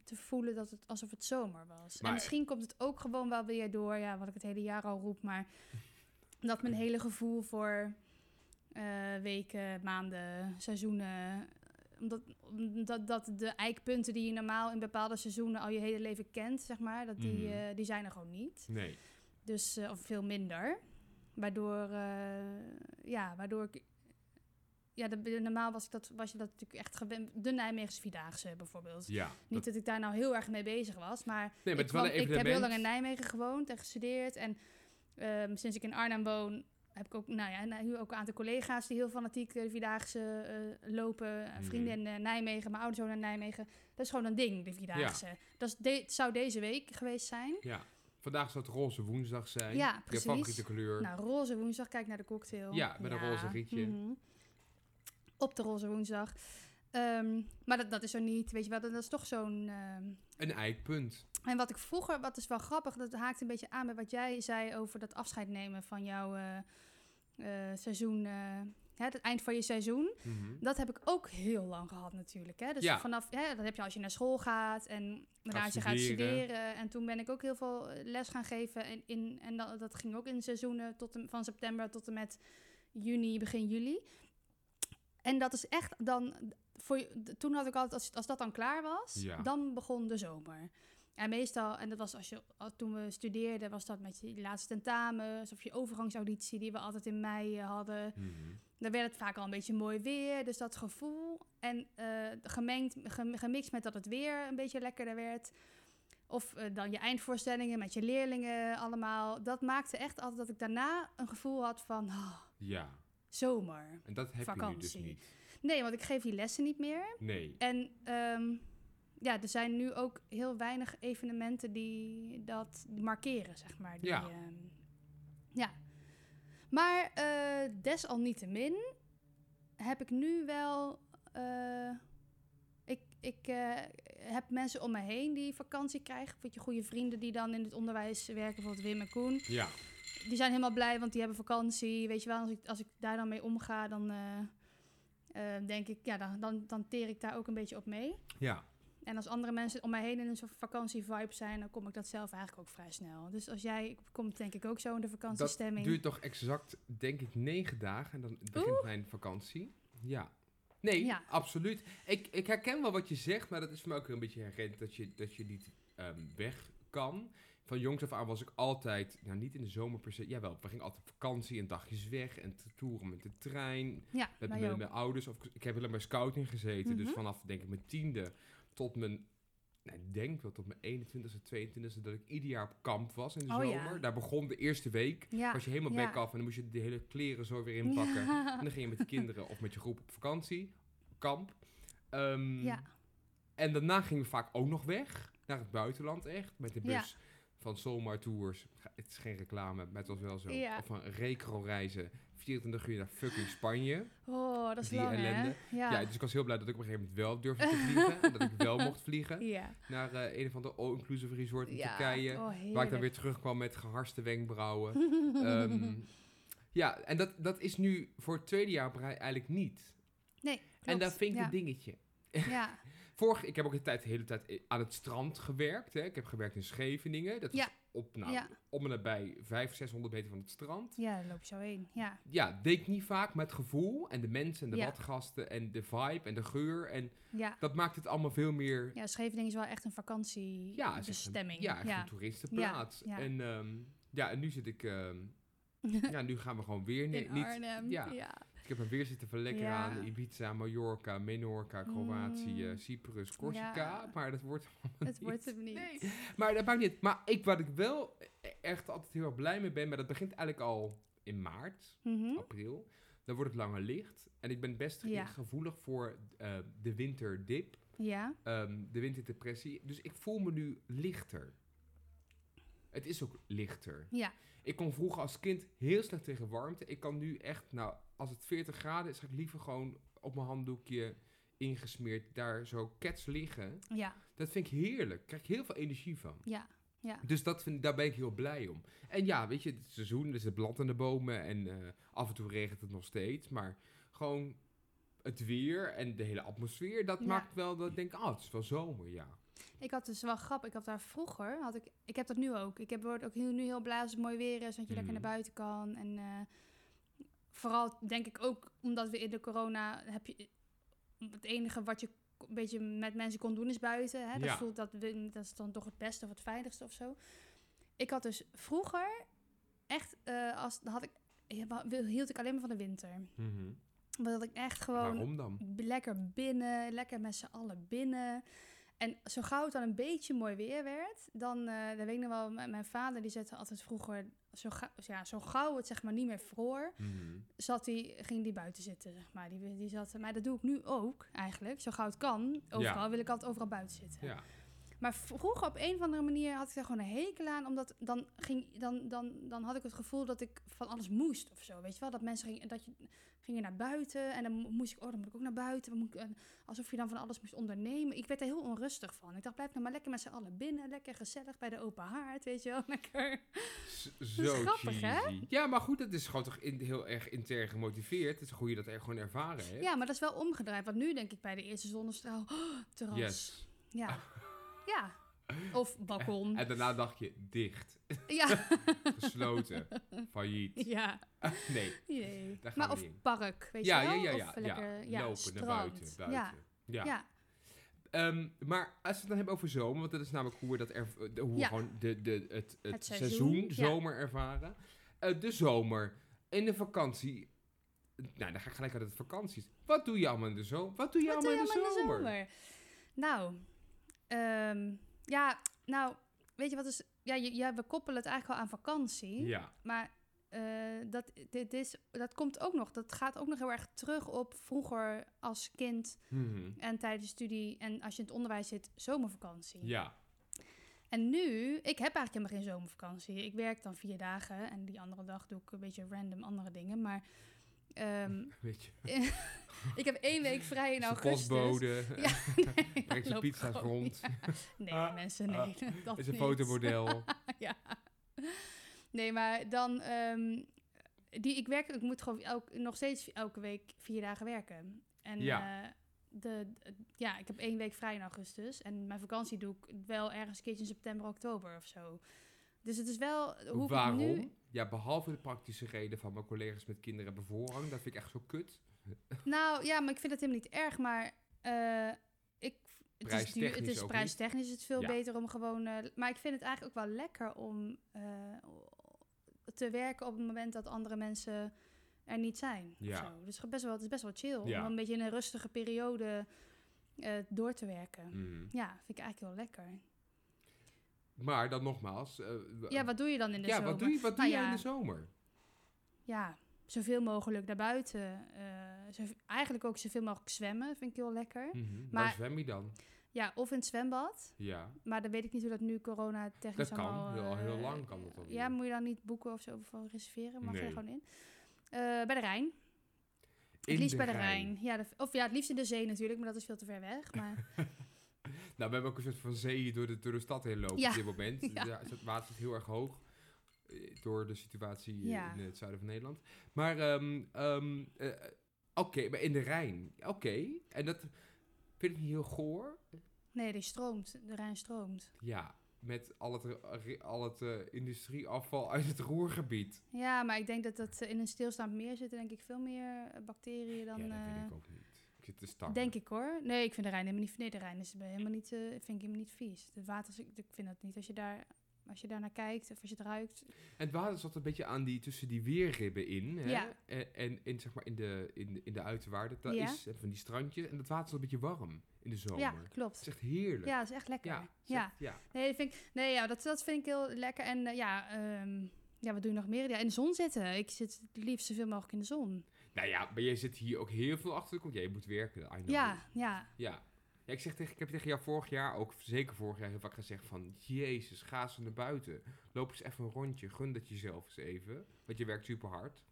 [SPEAKER 2] te voelen dat het alsof het zomer was.
[SPEAKER 3] Maar-
[SPEAKER 2] en misschien komt het ook gewoon wel weer door, ja, wat ik het hele jaar al roep, maar dat mijn hele gevoel voor eh, weken, maanden, seizoenen omdat, omdat dat de eikpunten die je normaal in bepaalde seizoenen al je hele leven kent, zeg maar, dat die,
[SPEAKER 3] Mhm.
[SPEAKER 2] eh, die zijn er gewoon niet.
[SPEAKER 3] Nee.
[SPEAKER 2] Dus, eh, of veel minder. Waardoor, eh, ja, waardoor ik... Ja, dat- normaal was, ik dat, was je dat natuurlijk echt gewend. De Nijmeegse Vierdaagse bijvoorbeeld.
[SPEAKER 3] Ja.
[SPEAKER 2] Niet dat ik daar nou heel erg mee bezig was, maar...
[SPEAKER 3] nee, maar
[SPEAKER 2] ik,
[SPEAKER 3] het is wel
[SPEAKER 2] kwam-
[SPEAKER 3] een
[SPEAKER 2] ik heb heel lang in
[SPEAKER 3] evenement.
[SPEAKER 2] Nijmegen gewoond en gestudeerd. En ehm, sinds ik in Arnhem woon, heb ik ook, nou ja, en nu ook een aantal collega's die heel fanatiek de Vierdaagse eh, lopen.
[SPEAKER 3] Mhm.
[SPEAKER 2] Eh, Vrienden in eh, Nijmegen, mijn ouders wonen in Nijmegen. Dat is gewoon een ding, de Vierdaagse. Dat is de- zou deze week geweest zijn.
[SPEAKER 3] Ja. Vandaag zou het roze woensdag zijn.
[SPEAKER 2] Ja,
[SPEAKER 3] Je
[SPEAKER 2] precies.
[SPEAKER 3] favoriete kleur.
[SPEAKER 2] Nou, roze woensdag, kijk naar de cocktail.
[SPEAKER 3] Ja, met een roze rietje.
[SPEAKER 2] mhm. Op de roze woensdag. Ehm, maar dat, dat is er niet, weet je wel. Dat, dat is toch zo'n... ehm,
[SPEAKER 3] Een eikpunt.
[SPEAKER 2] En wat ik vroeger, wat is wel grappig, dat haakt een beetje aan bij wat jij zei over dat afscheid nemen van jouw eh, eh, seizoen, eh, hè, het eind van je seizoen.
[SPEAKER 3] Mhm.
[SPEAKER 2] Dat heb ik ook heel lang gehad natuurlijk. Hè? Dus
[SPEAKER 3] Ja.
[SPEAKER 2] vanaf, hè, dat heb je als je naar school gaat en daarna als je gaat
[SPEAKER 3] studeren.
[SPEAKER 2] studeren. En toen ben ik ook heel veel eh, les gaan geven. En, in, en dat, dat ging ook in seizoenen tot en, van september tot en met juni, begin juli. En dat is echt dan, voor, je- toen had ik altijd, als, als dat dan klaar was,
[SPEAKER 3] Ja.
[SPEAKER 2] dan begon de zomer. En meestal, en dat was als je, al- toen we studeerden, was dat met je laatste tentamens of je overgangsauditie die we altijd in mei eh, hadden
[SPEAKER 3] Mhm.
[SPEAKER 2] dan werd het vaak al een beetje mooi weer. Dus dat gevoel. En eh, gemengd, gem- gemixt met dat het weer een beetje lekkerder werd. Of eh, dan je eindvoorstellingen met je leerlingen allemaal. Dat maakte echt altijd dat ik daarna een gevoel had van "Ah,
[SPEAKER 3] Ja.
[SPEAKER 2] zomer.
[SPEAKER 3] En dat heb je nu dus
[SPEAKER 2] Vakantie.
[SPEAKER 3] niet.
[SPEAKER 2] Nee, want ik geef die lessen niet meer.
[SPEAKER 3] Nee.
[SPEAKER 2] En ehm, ja, er zijn nu ook heel weinig evenementen die dat markeren, zeg maar. Die,
[SPEAKER 3] Ja.
[SPEAKER 2] ehm, ja. Maar eh, desalniettemin heb ik nu wel. eh, ik ik eh, heb mensen om me heen die vakantie krijgen. Weet je, goede vrienden die dan in het onderwijs werken, bijvoorbeeld Wim en Koen.
[SPEAKER 3] Ja.
[SPEAKER 2] die zijn helemaal blij, want die hebben vakantie. Weet je wel, als ik, als ik daar dan mee omga, dan eh, eh, denk ik, ja, dan, dan, dan teer ik daar ook een beetje op mee.
[SPEAKER 3] Ja,
[SPEAKER 2] En als andere mensen om mij heen in een soort vakantievibe zijn, dan kom ik dat zelf eigenlijk ook vrij snel. Dus als jij komt, denk ik ook zo in de
[SPEAKER 3] dat
[SPEAKER 2] vakantiestemming.
[SPEAKER 3] duurt toch exact, denk ik, negen dagen. En dan begint mijn vakantie. Ja. Nee,
[SPEAKER 2] Ja.
[SPEAKER 3] absoluut. Ik, ik herken wel wat je zegt, maar dat is voor mij ook weer een beetje herkend dat je, dat je niet ehm, weg kan. Van jongs af aan was ik altijd, nou niet in de zomer per se, jawel, we gingen altijd op vakantie en dagjes weg en te toeren met de trein.
[SPEAKER 2] ja,
[SPEAKER 3] Met
[SPEAKER 2] bij
[SPEAKER 3] mijn,
[SPEAKER 2] jou.
[SPEAKER 3] mijn ouders. Of, ik heb helemaal bij scouting gezeten. Dus
[SPEAKER 2] Mhm.
[SPEAKER 3] vanaf denk ik mijn tiende tot mijn... Nou, ik denk wel tot mijn 21ste, 22ste dat ik ieder jaar op kamp was in de
[SPEAKER 2] Oh,
[SPEAKER 3] zomer.
[SPEAKER 2] ja.
[SPEAKER 3] Daar begon de eerste week.
[SPEAKER 2] Ja,
[SPEAKER 3] was je helemaal
[SPEAKER 2] ja.
[SPEAKER 3] bek af en dan moest je de hele kleren zo weer inpakken. En dan ging je met de kinderen of met je groep op vakantie, kamp. Ehm,
[SPEAKER 2] Ja.
[SPEAKER 3] En daarna gingen we vaak ook nog weg, naar het buitenland echt, met de bus
[SPEAKER 2] Ja.
[SPEAKER 3] van Solmar Tours. Ga- Het is geen reclame, maar het was wel zo.
[SPEAKER 2] Ja.
[SPEAKER 3] Of van Recro reizen, 24 uur naar fucking Spanje.
[SPEAKER 2] Oh, dat is
[SPEAKER 3] Die
[SPEAKER 2] lang,
[SPEAKER 3] ellende.
[SPEAKER 2] hè? Ja.
[SPEAKER 3] Ja. dus ik was heel blij dat ik op een gegeven moment wel durfde te vliegen. en dat ik wel mocht vliegen
[SPEAKER 2] ja.
[SPEAKER 3] naar eh, een of ander all-inclusive resort in
[SPEAKER 2] Ja.
[SPEAKER 3] Turkije.
[SPEAKER 2] Oh,
[SPEAKER 3] Waar ik dan
[SPEAKER 2] heerlijk.
[SPEAKER 3] weer terugkwam met geharste wenkbrauwen. Ehm, ja, en dat, dat is nu voor het tweede jaar op rij eigenlijk niet.
[SPEAKER 2] Nee,
[SPEAKER 3] En
[SPEAKER 2] klopt.
[SPEAKER 3] dat vind ik
[SPEAKER 2] ja.
[SPEAKER 3] een dingetje.
[SPEAKER 2] Ja,
[SPEAKER 3] Vorig, ik heb ook de, tijd, de hele tijd i- aan het strand gewerkt. Hè. Ik heb gewerkt in Scheveningen. Dat was
[SPEAKER 2] Ja.
[SPEAKER 3] op, nou,
[SPEAKER 2] ja.
[SPEAKER 3] om en nabij 500, 600 meter van het strand.
[SPEAKER 2] ja, daar loop je zo heen. Ja,
[SPEAKER 3] Ja, deed ik niet vaak, maar het gevoel en de mensen en de
[SPEAKER 2] Ja.
[SPEAKER 3] badgasten en de vibe en de geur. En
[SPEAKER 2] ja.
[SPEAKER 3] dat maakt het allemaal veel meer
[SPEAKER 2] ja Scheveningen is wel echt een
[SPEAKER 3] Ja, het is
[SPEAKER 2] vakantiebestemming.
[SPEAKER 3] Een, ja, echt een toeristenplaats.
[SPEAKER 2] Ja, ja.
[SPEAKER 3] En, ehm, ja, en nu zit ik... ehm, ja, nu gaan we gewoon weer... ne-
[SPEAKER 2] in
[SPEAKER 3] niet,
[SPEAKER 2] Arnhem.
[SPEAKER 3] ja.
[SPEAKER 2] ja.
[SPEAKER 3] Ik heb hem weer zitten verlekkeren
[SPEAKER 2] Ja.
[SPEAKER 3] aan Ibiza, Mallorca, Menorca, Kroatië,
[SPEAKER 2] Mm.
[SPEAKER 3] Cyprus, Corsica.
[SPEAKER 2] Ja.
[SPEAKER 3] Maar dat wordt...
[SPEAKER 2] Het wordt hem niet.
[SPEAKER 3] Maar dat maakt niet... Maar ik, wat ik wel echt altijd heel erg blij mee ben... Maar dat begint eigenlijk al in maart,
[SPEAKER 2] Mhm.
[SPEAKER 3] april. Dan wordt het langer licht. En ik ben best ge-
[SPEAKER 2] Ja.
[SPEAKER 3] gevoelig voor eh, de winterdip.
[SPEAKER 2] Ja,
[SPEAKER 3] ehm, de winterdepressie. Dus ik voel me nu lichter. Het is ook lichter.
[SPEAKER 2] ja,
[SPEAKER 3] Ik kon vroeger als kind heel slecht tegen warmte. Ik kan nu echt, nou, als het 40 graden is, ga ik liever gewoon op mijn handdoekje ingesmeerd daar zo kets liggen.
[SPEAKER 2] ja,
[SPEAKER 3] Dat vind ik heerlijk. Daar krijg ik heel veel energie van.
[SPEAKER 2] ja, ja.
[SPEAKER 3] Dus dat vind, daar ben ik heel blij om. En ja, weet je, het seizoen, er zit blad aan de bomen en eh, af en toe regent het nog steeds. Maar gewoon het weer en de hele atmosfeer, dat
[SPEAKER 2] Ja.
[SPEAKER 3] maakt wel dat ik denk, ah, het is wel zomer, ja.
[SPEAKER 2] Ik had dus wel grap. Ik had daar vroeger, had ik, ik heb dat nu ook. Ik heb, word ook heel, nu heel blij als het mooi weer is, want je lekker
[SPEAKER 3] Mhm.
[SPEAKER 2] naar buiten kan. En eh, vooral denk ik ook omdat we in de corona heb je het enige wat je k- een beetje met mensen kon doen is buiten. Hè? Dat,
[SPEAKER 3] Ja.
[SPEAKER 2] voelt, dat, we- dat is dan toch het beste of het veiligste of zo. Ik had dus vroeger echt, eh, als had ik, hield ik alleen maar van de winter. Omdat ik echt Mhm. gewoon
[SPEAKER 3] Waarom dan?
[SPEAKER 2] B- lekker binnen, lekker met z'n allen binnen. En zo gauw het dan een beetje mooi weer werd, dan, eh dan weet ik nog wel, m- mijn vader die zette altijd vroeger, zo, ga- ja, zo gauw het zeg maar niet meer vroor,
[SPEAKER 3] Mhm.
[SPEAKER 2] zat die, ging die buiten zitten, zeg maar. Die, die zat, maar dat doe ik nu ook eigenlijk, zo gauw het kan, overal wil ik altijd overal buiten zitten.
[SPEAKER 3] Ja.
[SPEAKER 2] Maar vroeger op een of andere manier had ik daar gewoon een hekel aan. Omdat dan, ging, dan, dan, dan had ik het gevoel dat ik van alles moest of zo. Weet je wel, dat mensen gingen, dat je, gingen naar buiten. En dan mo- moest ik, oh dan moet ik ook naar buiten. Dan Moet ik, en alsof je dan van alles moest ondernemen. Ik werd er heel onrustig van. Ik dacht, blijf nou maar lekker met z'n allen binnen. Lekker gezellig bij de open haard, weet je wel. Lekker.
[SPEAKER 3] S- Zo
[SPEAKER 2] grappig, hè?
[SPEAKER 3] cheesy. Ja, maar goed, dat is gewoon toch in, heel erg intern gemotiveerd. Het is goed je dat er gewoon ervaren hebt.
[SPEAKER 2] Ja, maar dat is wel omgedraaid. Want nu denk ik bij de eerste zonnestraal, oh, terras.
[SPEAKER 3] Yes.
[SPEAKER 2] Ja. ja. Of balkon.
[SPEAKER 3] En daarna dacht je, dicht,
[SPEAKER 2] Ja.
[SPEAKER 3] gesloten, failliet. Ah,
[SPEAKER 2] ja.
[SPEAKER 3] Nee,
[SPEAKER 2] Nee.
[SPEAKER 3] Daar gaan
[SPEAKER 2] maar
[SPEAKER 3] we
[SPEAKER 2] of
[SPEAKER 3] niet in.
[SPEAKER 2] park, weet
[SPEAKER 3] ja,
[SPEAKER 2] je wel?
[SPEAKER 3] ja, ja,
[SPEAKER 2] of
[SPEAKER 3] ja,
[SPEAKER 2] lekker, ja,
[SPEAKER 3] lopen
[SPEAKER 2] strand.
[SPEAKER 3] naar buiten. buiten.
[SPEAKER 2] Ja,
[SPEAKER 3] Ja.
[SPEAKER 2] ja.
[SPEAKER 3] Ehm, maar als we het dan hebben over zomer, want dat is namelijk hoe we, dat er, de- hoe we
[SPEAKER 2] Ja.
[SPEAKER 3] gewoon de, de, het, het,
[SPEAKER 2] Het
[SPEAKER 3] seizoen,
[SPEAKER 2] seizoen, ja.
[SPEAKER 3] zomer ervaren. Eh, de zomer, in de vakantie. Nou, dan ga ik gelijk uit het vakanties. Wat doe je allemaal in de zomer? Wat doe je
[SPEAKER 2] Wat doe
[SPEAKER 3] allemaal
[SPEAKER 2] je
[SPEAKER 3] in de
[SPEAKER 2] allemaal
[SPEAKER 3] zomer?
[SPEAKER 2] Nou, ehm, ja, nou, weet je wat is... Ja, je, ja, we koppelen het eigenlijk al aan vakantie.
[SPEAKER 3] Ja,
[SPEAKER 2] Maar eh, dat, dit is, dat komt ook nog. Dat gaat ook nog heel erg terug op vroeger als kind
[SPEAKER 3] Mhm.
[SPEAKER 2] en tijdens studie. En als je in het onderwijs zit, zomervakantie.
[SPEAKER 3] ja.
[SPEAKER 2] En nu, ik heb eigenlijk helemaal geen zomervakantie. Ik werk dan vier dagen en die andere dag doe ik een beetje random andere dingen. Maar ehm,
[SPEAKER 3] Weet je,
[SPEAKER 2] ik heb één week vrij in
[SPEAKER 3] is de
[SPEAKER 2] augustus.
[SPEAKER 3] postbode,
[SPEAKER 2] Ja, nee,
[SPEAKER 3] brengt
[SPEAKER 2] dan
[SPEAKER 3] zijn
[SPEAKER 2] loop ik
[SPEAKER 3] pizza's
[SPEAKER 2] gewoon-
[SPEAKER 3] rond,
[SPEAKER 2] Nee,
[SPEAKER 3] Ah,
[SPEAKER 2] mensen, nee. dat
[SPEAKER 3] is een
[SPEAKER 2] niet.
[SPEAKER 3] fotomodel.
[SPEAKER 2] ja. Nee, maar dan... ehm, die, ik, werk, ik moet gewoon elk, nog steeds elke week vier dagen werken. En
[SPEAKER 3] Ja.
[SPEAKER 2] ja. de, de- ja, ik heb één week vrij in augustus. En mijn vakantie doe ik wel ergens een keertje in september, oktober of zo. Dus het is wel... Hoe
[SPEAKER 3] Waarom?
[SPEAKER 2] Ik nu,
[SPEAKER 3] Ja, behalve de praktische reden van mijn collega's met kinderen hebben voorrang. Dat vind ik echt zo kut.
[SPEAKER 2] nou ja, maar ik vind het helemaal niet erg, maar... eh, ik, het is, duur-
[SPEAKER 3] Prijstechnisch
[SPEAKER 2] het is
[SPEAKER 3] ook niet.
[SPEAKER 2] prijstechnisch is het veel
[SPEAKER 3] Ja.
[SPEAKER 2] beter om gewoon... eh, maar ik vind het eigenlijk ook wel lekker om eh, te werken op het moment dat andere mensen er niet zijn. of
[SPEAKER 3] Ja.
[SPEAKER 2] zo. Dus het is best wel, het is best wel chill om
[SPEAKER 3] Ja.
[SPEAKER 2] dan een beetje in een rustige periode eh, door te werken.
[SPEAKER 3] Mm.
[SPEAKER 2] Ja, vind ik eigenlijk wel lekker.
[SPEAKER 3] Maar dan nogmaals. eh, w-
[SPEAKER 2] Ja, wat doe je dan in de
[SPEAKER 3] ja,
[SPEAKER 2] zomer?
[SPEAKER 3] wat doe je, wat doe
[SPEAKER 2] Nou
[SPEAKER 3] je in
[SPEAKER 2] ja.
[SPEAKER 3] de zomer?
[SPEAKER 2] Ja, zoveel mogelijk naar buiten. eh, zo- eigenlijk ook zoveel mogelijk zwemmen, vind ik heel lekker.
[SPEAKER 3] Mhm. Waar
[SPEAKER 2] Hm. Maar-
[SPEAKER 3] zwem je dan?
[SPEAKER 2] Ja, of in het zwembad.
[SPEAKER 3] Ja.
[SPEAKER 2] Maar dan weet ik niet hoe dat nu corona technisch
[SPEAKER 3] Dat kan,
[SPEAKER 2] allemaal...
[SPEAKER 3] heel- al
[SPEAKER 2] eh,
[SPEAKER 3] heel lang kan dat al
[SPEAKER 2] Ja,
[SPEAKER 3] weer.
[SPEAKER 2] moet je dan niet boeken of zo voor reserveren? Mag je er
[SPEAKER 3] Nee.
[SPEAKER 2] gewoon in? Eh, bij de Rijn.
[SPEAKER 3] In
[SPEAKER 2] het liefst
[SPEAKER 3] de
[SPEAKER 2] bij de Rijn.
[SPEAKER 3] Rijn.
[SPEAKER 2] Ja, de- of ja, het liefst in de zee natuurlijk, maar dat is veel te ver weg. Maar
[SPEAKER 3] Nou, we hebben ook een soort van zee door de, door de stad heen lopen
[SPEAKER 2] Ja.
[SPEAKER 3] op dit moment. Dus
[SPEAKER 2] Ja.
[SPEAKER 3] Ja, het water is heel erg hoog eh, door de situatie eh,
[SPEAKER 2] Ja.
[SPEAKER 3] in het zuiden van Nederland. Maar, ehm, ehm, eh, oké, maar in de Rijn. Oké, en dat vind ik niet heel goor.
[SPEAKER 2] nee, die stroomt. De Rijn stroomt.
[SPEAKER 3] Ja, met al het, re- al het eh, industrieafval uit het Roergebied.
[SPEAKER 2] Ja, maar ik denk dat dat eh, in een stilstaand meer zitten, denk ik, veel meer eh, bacteriën dan...
[SPEAKER 3] ja, dat
[SPEAKER 2] eh,
[SPEAKER 3] weet ik ook niet. Ik zit te stappen.
[SPEAKER 2] Denk ik hoor. Nee, ik vind de Rijn helemaal niet. Nee, de Rijn is helemaal niet, eh, vind ik helemaal niet vies. Het water, is- ik vind dat niet. Als je daar, als je daar naar kijkt of als je het ruikt.
[SPEAKER 3] En het water zat een beetje aan die, tussen die weerribben in. Hè?
[SPEAKER 2] Ja.
[SPEAKER 3] En, en in, zeg maar in, de, in, de- in de uiterwaarden. Dat
[SPEAKER 2] Ja.
[SPEAKER 3] is eh, van die strandjes. En dat water is een beetje warm in de zomer.
[SPEAKER 2] Ja,
[SPEAKER 3] Het
[SPEAKER 2] klopt.
[SPEAKER 3] is echt heerlijk.
[SPEAKER 2] Ja, dat is echt lekker.
[SPEAKER 3] Ja, het is
[SPEAKER 2] ja.
[SPEAKER 3] echt- ja.
[SPEAKER 2] Nee, dat vind ik, nee ja, dat, dat vind ik heel lekker. En eh, ja, ehm, ja, wat doe je nog meer? Ja, in de zon zitten. Ik zit het liefst zoveel mogelijk in de zon.
[SPEAKER 3] Nou ja, maar jij zit hier ook heel veel achter de kont. Jij moet werken, I know.
[SPEAKER 2] Ja, ja.
[SPEAKER 3] Ja. Ja, ik, zeg tegen, ik heb tegen jou vorig jaar, ook zeker vorig jaar, heel vaak gezegd van... Jezus, ga ze naar buiten. Loop eens even een rondje. Gun dat jezelf eens even. Want je werkt super hard.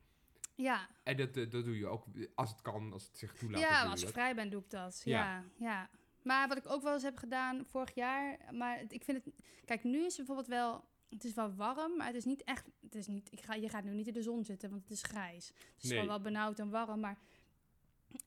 [SPEAKER 2] Ja,
[SPEAKER 3] En dat, eh, dat doe je ook eh, als het kan, als het zich toelaat. dan doe
[SPEAKER 2] ja
[SPEAKER 3] je
[SPEAKER 2] als ik
[SPEAKER 3] dat.
[SPEAKER 2] vrij ben, doe ik dat. Ja.
[SPEAKER 3] Ja.
[SPEAKER 2] ja, Maar wat ik ook wel eens heb gedaan vorig jaar. Maar het- ik vind het. Kijk, nu is het bijvoorbeeld wel. Het is wel warm, maar het is niet echt. Het is niet, ik ga, je gaat nu niet in de zon zitten, want het is grijs. Het is
[SPEAKER 3] Nee.
[SPEAKER 2] gewoon wel benauwd en warm. Maar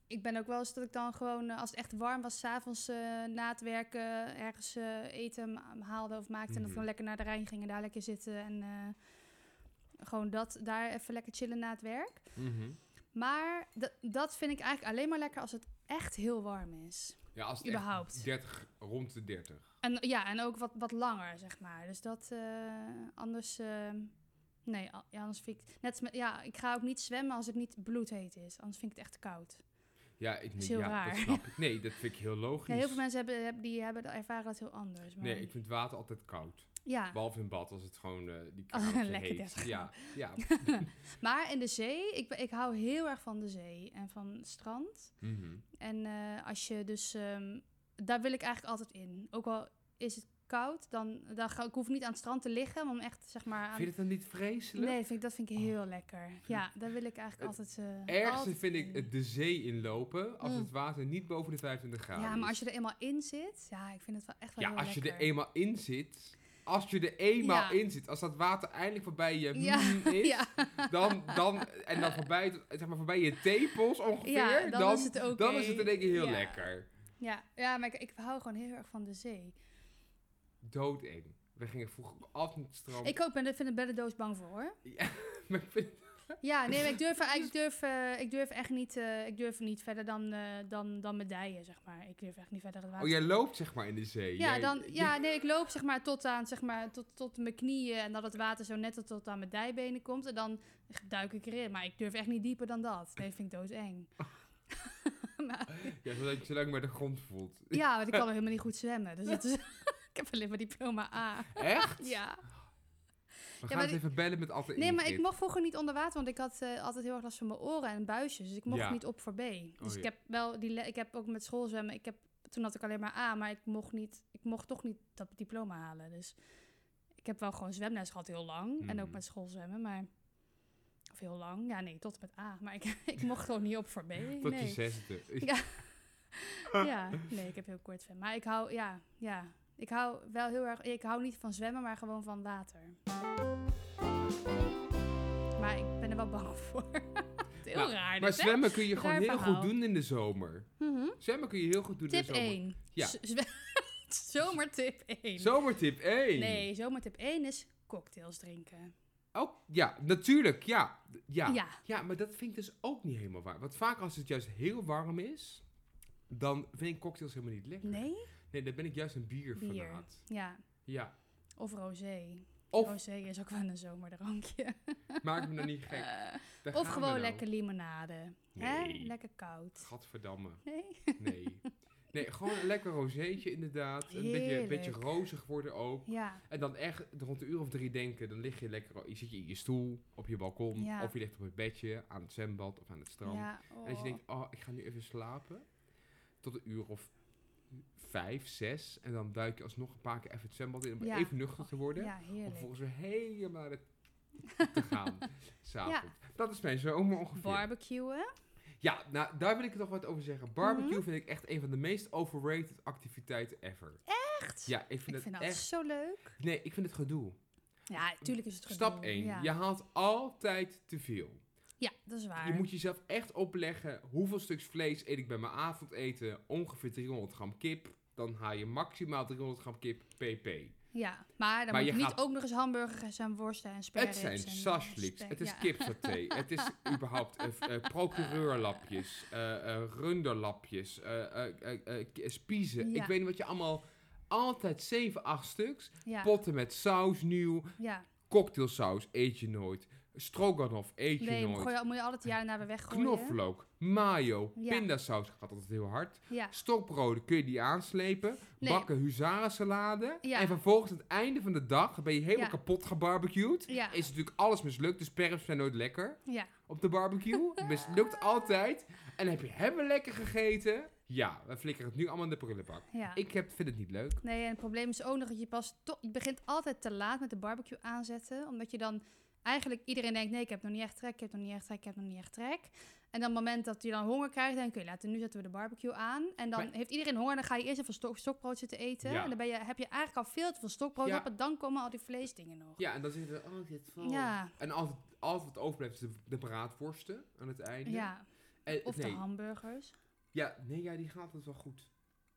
[SPEAKER 2] ik ben ook wel eens dat ik dan gewoon, eh, als het echt warm was, s'avonds eh na het werken ergens eh, eten ma- haalde of maakte. En dat
[SPEAKER 3] Mhm.
[SPEAKER 2] ik dan lekker naar de Rijn ging en daar lekker zitten. En eh, gewoon dat, daar even lekker chillen na het werk.
[SPEAKER 3] Mhm.
[SPEAKER 2] Maar d- dat vind ik eigenlijk alleen maar lekker als het echt heel warm is.
[SPEAKER 3] Ja, als het echt
[SPEAKER 2] Überhaupt.
[SPEAKER 3] 30, rond de 30.
[SPEAKER 2] En ja, en ook wat, wat langer, zeg maar. Dus dat eh, anders. eh, nee, a- ja, anders vind ik. Net als met- ja, ik ga ook niet zwemmen als het niet bloedheet is. Anders vind ik het echt te koud.
[SPEAKER 3] Ja, ik,
[SPEAKER 2] is
[SPEAKER 3] ja,
[SPEAKER 2] heel raar.
[SPEAKER 3] dat snap ik. Nee, dat vind ik heel logisch.
[SPEAKER 2] Ja, heel veel mensen hebben, hebben- die hebben, ervaren dat heel anders. Maar
[SPEAKER 3] Nee, ik vind water altijd koud.
[SPEAKER 2] ja.
[SPEAKER 3] Behalve in bad, als het gewoon eh, die
[SPEAKER 2] Oh,
[SPEAKER 3] koude
[SPEAKER 2] lekker
[SPEAKER 3] heet.
[SPEAKER 2] 30
[SPEAKER 3] Ja, ja.
[SPEAKER 2] Maar in de zee, ik, ben- ik hou heel erg van de zee en van het strand.
[SPEAKER 3] Mhm.
[SPEAKER 2] En eh, als je dus, ehm, daar wil ik eigenlijk altijd in. Ook al is het koud, dan, dan ga, ik hoef niet aan het strand te liggen, maar om echt zeg maar aan
[SPEAKER 3] Vind je het dan niet Oh. vreselijk?
[SPEAKER 2] Nee, vind ik, dat vind ik heel lekker. Ja, daar wil ik eigenlijk altijd... eh
[SPEAKER 3] Ergste
[SPEAKER 2] altijd
[SPEAKER 3] vind ik
[SPEAKER 2] in.
[SPEAKER 3] het de zee inlopen als
[SPEAKER 2] Mm.
[SPEAKER 3] het water niet boven de 25 graden
[SPEAKER 2] Ja, maar als
[SPEAKER 3] is.
[SPEAKER 2] je er eenmaal in zit, ja, ik vind het wel echt wel
[SPEAKER 3] ja,
[SPEAKER 2] heel
[SPEAKER 3] als je er
[SPEAKER 2] lekker.
[SPEAKER 3] eenmaal in zit, als je er eenmaal
[SPEAKER 2] Ja.
[SPEAKER 3] in zit, als dat water eindelijk voorbij je mm is,
[SPEAKER 2] ja,
[SPEAKER 3] dan, dan, en dan voorbij, het- zeg maar voorbij je tepels ongeveer,
[SPEAKER 2] Ja, dan
[SPEAKER 3] dan,
[SPEAKER 2] is het oké.
[SPEAKER 3] dan is het in één keer heel
[SPEAKER 2] Ja.
[SPEAKER 3] lekker.
[SPEAKER 2] ja, ja, maar ik, ik hou gewoon heel erg van de zee.
[SPEAKER 3] Doodeng. We gingen vroeger altijd naar het strand.
[SPEAKER 2] Ik ook ben, vind er beddendoos bang voor, hoor.
[SPEAKER 3] Maar ik vind-
[SPEAKER 2] Ja, nee, maar ik durf, ik durf, eh, ik durf echt niet, eh, ik durf niet verder dan, eh, dan, dan mijn dijen, zeg maar. Ik durf echt niet verder dan het
[SPEAKER 3] oh,
[SPEAKER 2] water.
[SPEAKER 3] jij loopt zeg maar in de zee.
[SPEAKER 2] Ja,
[SPEAKER 3] Jij-
[SPEAKER 2] dan, ja, nee, ik loop zeg maar tot aan, zeg maar, tot, tot mijn knieën en dat het water zo net tot, tot aan mijn dijbenen komt. En dan duik ik erin, maar ik durf echt niet dieper dan dat. Nee, vind ik doodeng. maar,
[SPEAKER 3] Ja, zodat je zo lang maar de grond voelt.
[SPEAKER 2] ja, want ik kan wel helemaal niet goed zwemmen. Dus dat is, ik heb alleen maar diploma A.
[SPEAKER 3] Echt?
[SPEAKER 2] Ja.
[SPEAKER 3] We gaan
[SPEAKER 2] maar
[SPEAKER 3] het
[SPEAKER 2] ik-
[SPEAKER 3] even bellen met Atte
[SPEAKER 2] Nee, maar
[SPEAKER 3] Ingrid.
[SPEAKER 2] ik mocht vroeger niet onder water, want ik had eh, altijd heel erg last van mijn oren en buisjes. Dus ik mocht
[SPEAKER 3] Ja. Oh,
[SPEAKER 2] niet op voor B. Dus
[SPEAKER 3] ja.
[SPEAKER 2] ik heb wel die, le- ik heb ook met school zwemmen. Ik heb, toen had ik alleen maar A, maar ik mocht niet, ik mocht toch niet dat diploma halen. Dus ik heb wel gewoon zwemles gehad heel lang en ook
[SPEAKER 3] Mhm.
[SPEAKER 2] met school zwemmen, maar of heel lang. Ja, nee, tot en met A. Maar ik, ik mocht gewoon niet op voor B.
[SPEAKER 3] Tot
[SPEAKER 2] nee.
[SPEAKER 3] je zesde.
[SPEAKER 2] Ja, nee, ik heb heel kort zwemmen. Maar ik hou, ja, ja. Ik hou wel heel erg, ik hou niet van zwemmen, maar gewoon van water. Maar ik ben er wel bang voor. Het is heel
[SPEAKER 3] Maar-
[SPEAKER 2] raar
[SPEAKER 3] Nou, Maar
[SPEAKER 2] dit, hè?
[SPEAKER 3] zwemmen kun je gewoon
[SPEAKER 2] Raar
[SPEAKER 3] heel
[SPEAKER 2] verhaal.
[SPEAKER 3] goed doen in de zomer.
[SPEAKER 2] Mhm.
[SPEAKER 3] Zwemmen kun je heel goed doen in
[SPEAKER 2] Tip
[SPEAKER 3] de zomer.
[SPEAKER 2] 1.
[SPEAKER 3] dus Ja.
[SPEAKER 2] Zomertip 1.
[SPEAKER 3] Zomertip 1.
[SPEAKER 2] Nee, zomertip 1 is cocktails drinken.
[SPEAKER 3] Oh, ja, natuurlijk, ja. Ja.
[SPEAKER 2] Ja.
[SPEAKER 3] ja. maar dat vind ik dus ook niet helemaal waar. Want vaak als het juist heel warm is, dan vind ik cocktails helemaal niet lekker.
[SPEAKER 2] Nee?
[SPEAKER 3] Nee, dan ben ik juist een bierfanaat.
[SPEAKER 2] Ja.
[SPEAKER 3] Ja.
[SPEAKER 2] Of rosé.
[SPEAKER 3] Of
[SPEAKER 2] Rosé is ook wel een zomerdrankje.
[SPEAKER 3] maak me nou niet gek.
[SPEAKER 2] Eh,
[SPEAKER 3] Daar gaan
[SPEAKER 2] of
[SPEAKER 3] we
[SPEAKER 2] gewoon
[SPEAKER 3] nou.
[SPEAKER 2] lekker limonade. Hè?
[SPEAKER 3] Nee.
[SPEAKER 2] Lekker koud.
[SPEAKER 3] Gadverdamme.
[SPEAKER 2] Nee?
[SPEAKER 3] Nee. Nee, gewoon een lekker rozeetje inderdaad. Een beetje, een
[SPEAKER 2] Heerlijk.
[SPEAKER 3] beetje rozig worden ook.
[SPEAKER 2] Ja.
[SPEAKER 3] En dan echt rond een uur of drie denken, dan lig je lekker, je zit je in je stoel, op je balkon,
[SPEAKER 2] Ja.
[SPEAKER 3] of je ligt op het bedje, aan het zwembad of aan het strand.
[SPEAKER 2] ja
[SPEAKER 3] En als je
[SPEAKER 2] oh.
[SPEAKER 3] denkt, oh, ik ga nu even slapen, tot een uur of vijf, zes, en dan duik je alsnog een paar keer even het zwembad in om
[SPEAKER 2] Ja.
[SPEAKER 3] even nuchter te worden.
[SPEAKER 2] Ja,
[SPEAKER 3] Om
[SPEAKER 2] heerlijk.
[SPEAKER 3] vervolgens weer helemaal naar de te gaan, s'avonds. Dat is mijn zomer ongeveer.
[SPEAKER 2] Barbecuen.
[SPEAKER 3] Ja, nou, daar wil ik toch wat over zeggen. Barbecue
[SPEAKER 2] Mhm.
[SPEAKER 3] vind ik echt een van de meest overrated activiteiten ever.
[SPEAKER 2] Echt?
[SPEAKER 3] Ja, ik vind
[SPEAKER 2] ik
[SPEAKER 3] het
[SPEAKER 2] vind dat
[SPEAKER 3] echt...
[SPEAKER 2] zo leuk.
[SPEAKER 3] Nee, ik vind het gedoe.
[SPEAKER 2] Ja, tuurlijk is het gedoe.
[SPEAKER 3] Stap 1.
[SPEAKER 2] Ja.
[SPEAKER 3] Je
[SPEAKER 2] ja.
[SPEAKER 3] haalt altijd te veel.
[SPEAKER 2] dat is waar.
[SPEAKER 3] Je moet jezelf echt opleggen hoeveel stuks vlees eet ik bij mijn avondeten. Ongeveer 300 gram kip. Dan haal je maximaal 300 gram kip pp.
[SPEAKER 2] Ja, maar dan
[SPEAKER 3] Maar
[SPEAKER 2] moet
[SPEAKER 3] je
[SPEAKER 2] niet
[SPEAKER 3] gaat-
[SPEAKER 2] ook nog eens hamburgers en worsten en eh,
[SPEAKER 3] Het
[SPEAKER 2] sperrips.
[SPEAKER 3] zijn sashliks, het is kipsaté, het is überhaupt eh, f- eh, procureurlapjes, eh, eh, runderlapjes, eh eh, eh, eh, k- eh, spiezen.
[SPEAKER 2] Ja.
[SPEAKER 3] Ik weet niet wat je allemaal... Altijd 7, 8 stuks.
[SPEAKER 2] Ja,
[SPEAKER 3] Potten met saus nieuw.
[SPEAKER 2] ja.
[SPEAKER 3] Cocktailsaus eet je nooit. Stroganoff eet je
[SPEAKER 2] Nee, maar
[SPEAKER 3] nooit.
[SPEAKER 2] gooi, moet je altijd jaren naar weer weggooien.
[SPEAKER 3] Knoflook, mayo,
[SPEAKER 2] Ja.
[SPEAKER 3] pindasaus gaat altijd heel hard.
[SPEAKER 2] Ja,
[SPEAKER 3] Stokbroden kun je die aanslepen.
[SPEAKER 2] Nee.
[SPEAKER 3] Bakken huzarensalade.
[SPEAKER 2] Ja.
[SPEAKER 3] En vervolgens aan het einde van de dag ben je helemaal
[SPEAKER 2] Ja.
[SPEAKER 3] kapot gebarbecued.
[SPEAKER 2] ja,
[SPEAKER 3] Is natuurlijk alles mislukt. De sperps zijn nooit lekker
[SPEAKER 2] ja.
[SPEAKER 3] op de barbecue. mislukt altijd. En heb je hebben lekker gegeten. Ja, we flikkeren het nu allemaal in de prullenbak.
[SPEAKER 2] ja.
[SPEAKER 3] Ik heb, vind het niet leuk.
[SPEAKER 2] Nee, en het probleem is ook nog dat je pas... to- je begint altijd te laat met de barbecue aanzetten. Omdat je dan eigenlijk iedereen denkt... Nee, ik heb nog niet echt trek, ik heb nog niet echt trek, ik heb nog niet echt trek. En dan op het moment dat je dan honger krijgt... denk je, oké, laten we nu zetten we de barbecue aan. En dan
[SPEAKER 3] Maar-
[SPEAKER 2] heeft iedereen honger. Dan ga je eerst even stok, stokbrood zitten eten.
[SPEAKER 3] Ja.
[SPEAKER 2] En dan ben je, heb je eigenlijk al veel te veel stokbrood
[SPEAKER 3] Ja.
[SPEAKER 2] op. En dan komen al die vleesdingen nog.
[SPEAKER 3] Ja, en dan zitten we, oh, dit valt.
[SPEAKER 2] ja.
[SPEAKER 3] En altijd, altijd wat overblijft is de, de braadworsten aan het einde.
[SPEAKER 2] ja.
[SPEAKER 3] En-
[SPEAKER 2] Of
[SPEAKER 3] nee,
[SPEAKER 2] de hamburgers.
[SPEAKER 3] Ja, nee, ja, die gaat altijd wel goed.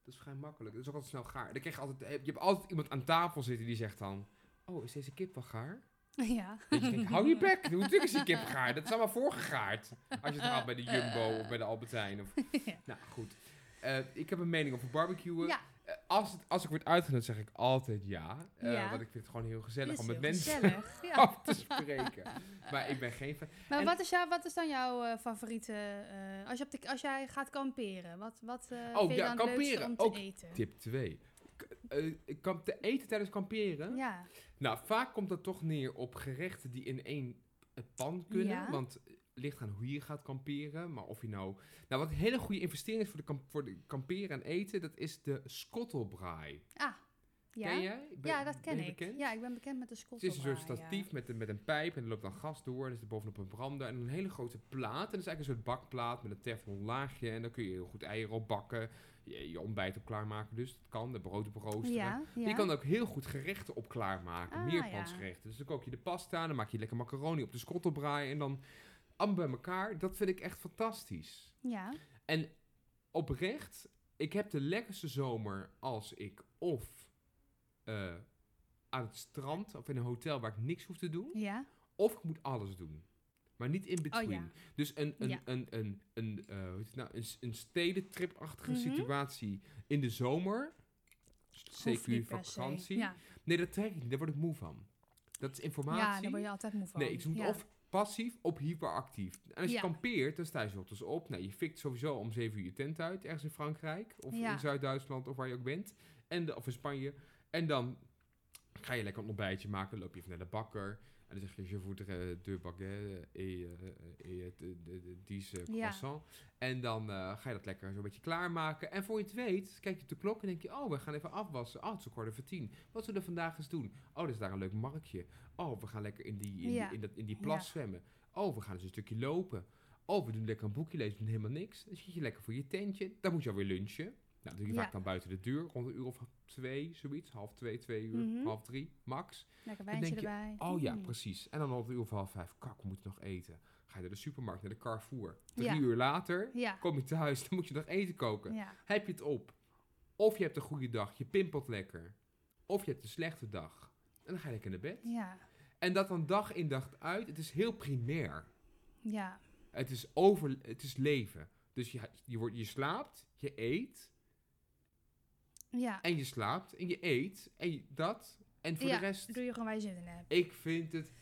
[SPEAKER 3] Dat is vrij makkelijk. Dat is ook altijd snel gaar. Dan krijg je, altijd, eh, je hebt altijd iemand aan tafel zitten die zegt dan... Oh, is deze kip wel gaar?
[SPEAKER 2] Ja.
[SPEAKER 3] Dat je denkt, hou je bek. Natuurlijk is die kip gaar. Dat is allemaal voorgegaard. Als je het haalt bij de Jumbo of bij de Albertijn. Of...
[SPEAKER 2] Ja.
[SPEAKER 3] Nou, goed. Eh, ik heb een mening over barbecuen.
[SPEAKER 2] Ja.
[SPEAKER 3] Eh, als, het, als ik word uitgenodigd, zeg ik altijd ja. Eh,
[SPEAKER 2] Ja.
[SPEAKER 3] Want ik vind het gewoon heel gezellig
[SPEAKER 2] Is
[SPEAKER 3] om met
[SPEAKER 2] heel
[SPEAKER 3] mensen
[SPEAKER 2] gezellig, ja.
[SPEAKER 3] af te spreken. Maar ik ben geen fan.
[SPEAKER 2] Maar
[SPEAKER 3] En-
[SPEAKER 2] wat is, jou, wat is dan jouw eh, favoriete... eh, als, je op de, als jij gaat kamperen, wat, wat eh, vind je
[SPEAKER 3] Oh, ja,
[SPEAKER 2] dan het leukste
[SPEAKER 3] kamperen,
[SPEAKER 2] om te
[SPEAKER 3] ook
[SPEAKER 2] eten?
[SPEAKER 3] Tip 2. Ik kan te eten tijdens kamperen.
[SPEAKER 2] Ja,
[SPEAKER 3] Nou, vaak komt dat toch neer op gerechten die in één eh, pan kunnen.
[SPEAKER 2] Ja.
[SPEAKER 3] Want eh, ligt aan hoe je gaat kamperen. Maar of je nou... Nou, wat een hele goede investering is voor de, kamp- voor de kamperen en eten... dat is de skottelbraai.
[SPEAKER 2] Ah, ja.
[SPEAKER 3] Ken jij? Ben-
[SPEAKER 2] ja dat
[SPEAKER 3] ben
[SPEAKER 2] ken
[SPEAKER 3] je
[SPEAKER 2] ik.
[SPEAKER 3] bekend?
[SPEAKER 2] Ja, ik ben bekend met de
[SPEAKER 3] Het is een soort
[SPEAKER 2] schotelbaar,
[SPEAKER 3] statief met, een, met een pijp en er loopt dan gas door. En er zit bovenop een brander en een hele grote plaat. En dat is eigenlijk een soort bakplaat met een teflon laagje. En dan kun je heel goed eieren op bakken. Je, je ontbijt op klaarmaken dus. Dat kan, de brood op roosteren.
[SPEAKER 2] Ja, ja.
[SPEAKER 3] Je kan ook heel goed gerechten op klaarmaken.
[SPEAKER 2] Ah,
[SPEAKER 3] meerkansgerechten. Dus dan kook je de pasta, dan maak je lekker macaroni op de schottelbraai. En dan allemaal bij elkaar. Dat vind ik echt fantastisch.
[SPEAKER 2] Ja,
[SPEAKER 3] En oprecht, ik heb de lekkerste zomer als ik of eh, aan het strand of in een hotel waar ik niks hoef te doen,
[SPEAKER 2] ja.
[SPEAKER 3] of ik moet alles doen. Maar niet in between.
[SPEAKER 2] Oh, ja.
[SPEAKER 3] Dus een, een,
[SPEAKER 2] Ja.
[SPEAKER 3] een, een, een, eh, hoe heet het nou, een, s- een stedentripachtige
[SPEAKER 2] Mhm.
[SPEAKER 3] situatie in de zomer.
[SPEAKER 2] Hoeft
[SPEAKER 3] CQ
[SPEAKER 2] niet per se.
[SPEAKER 3] vakantie.
[SPEAKER 2] Ja.
[SPEAKER 3] Nee, dat trek ik niet. Daar word ik moe van. Dat is
[SPEAKER 2] ja,
[SPEAKER 3] informatie.
[SPEAKER 2] daar word je altijd moe van.
[SPEAKER 3] Nee, ik moet
[SPEAKER 2] ja.
[SPEAKER 3] of passief of hyperactief. En als je
[SPEAKER 2] Ja.
[SPEAKER 3] kampeert, dan sta je 's ochtends op. Nou, je fikt sowieso om 7 uur je tent uit, ergens in Frankrijk of
[SPEAKER 2] Ja.
[SPEAKER 3] in Zuid-Duitsland of waar je ook bent. En de- of in Spanje. En dan ga je lekker een ontbijtje maken, loop je even naar de bakker. En dan zeg je, je voudrais deux baguettes et, eh, eh, et eh, de- de- dix eh,
[SPEAKER 2] Ja.
[SPEAKER 3] croissants. En dan eh, ga je dat lekker zo'n beetje klaarmaken. En voor je het weet, kijk je op de klok en denk je, oh, we gaan even afwassen. Oh, het is een kwart over tien. Wat zullen we vandaag eens doen? Oh, er is daar een leuk marktje. Oh, we gaan lekker in die, in
[SPEAKER 2] Ja.
[SPEAKER 3] die, in dat, in die plas
[SPEAKER 2] Ja.
[SPEAKER 3] zwemmen. Oh, we gaan eens een stukje lopen. Oh, we doen lekker een boekje lezen, we doen helemaal niks. Dan zit je lekker voor je tentje. Dan moet je alweer lunchen. Nou, doe je
[SPEAKER 2] Ja.
[SPEAKER 3] vaak dan buiten de duur, rond een uur of twee, zoiets. Half twee, twee uur,
[SPEAKER 2] Mhm.
[SPEAKER 3] half drie, max.
[SPEAKER 2] Lekker
[SPEAKER 3] denk
[SPEAKER 2] wijntje
[SPEAKER 3] je,
[SPEAKER 2] erbij.
[SPEAKER 3] Oh ja,
[SPEAKER 2] Mm.
[SPEAKER 3] precies. En dan rond een uur of half vijf, kak, we moeten nog eten. Ga je naar de supermarkt, naar de Carrefour. Drie
[SPEAKER 2] Ja.
[SPEAKER 3] uur later
[SPEAKER 2] Ja,
[SPEAKER 3] kom je thuis, dan moet je nog eten koken.
[SPEAKER 2] ja.
[SPEAKER 3] Heb je het op? Of je hebt een goede dag, je pimpelt lekker. Of je hebt een slechte dag. En dan ga je lekker naar bed.
[SPEAKER 2] Ja,
[SPEAKER 3] En dat dan dag in dag uit, het is heel primair.
[SPEAKER 2] ja,
[SPEAKER 3] Het is, over, het is leven. Dus je, je, wordt, je slaapt, je eet,
[SPEAKER 2] ja.
[SPEAKER 3] en je slaapt, en je eet, en je- dat. En voor
[SPEAKER 2] ja,
[SPEAKER 3] de rest,
[SPEAKER 2] doe je gewoon waar je zin in hebt.
[SPEAKER 3] ik vind het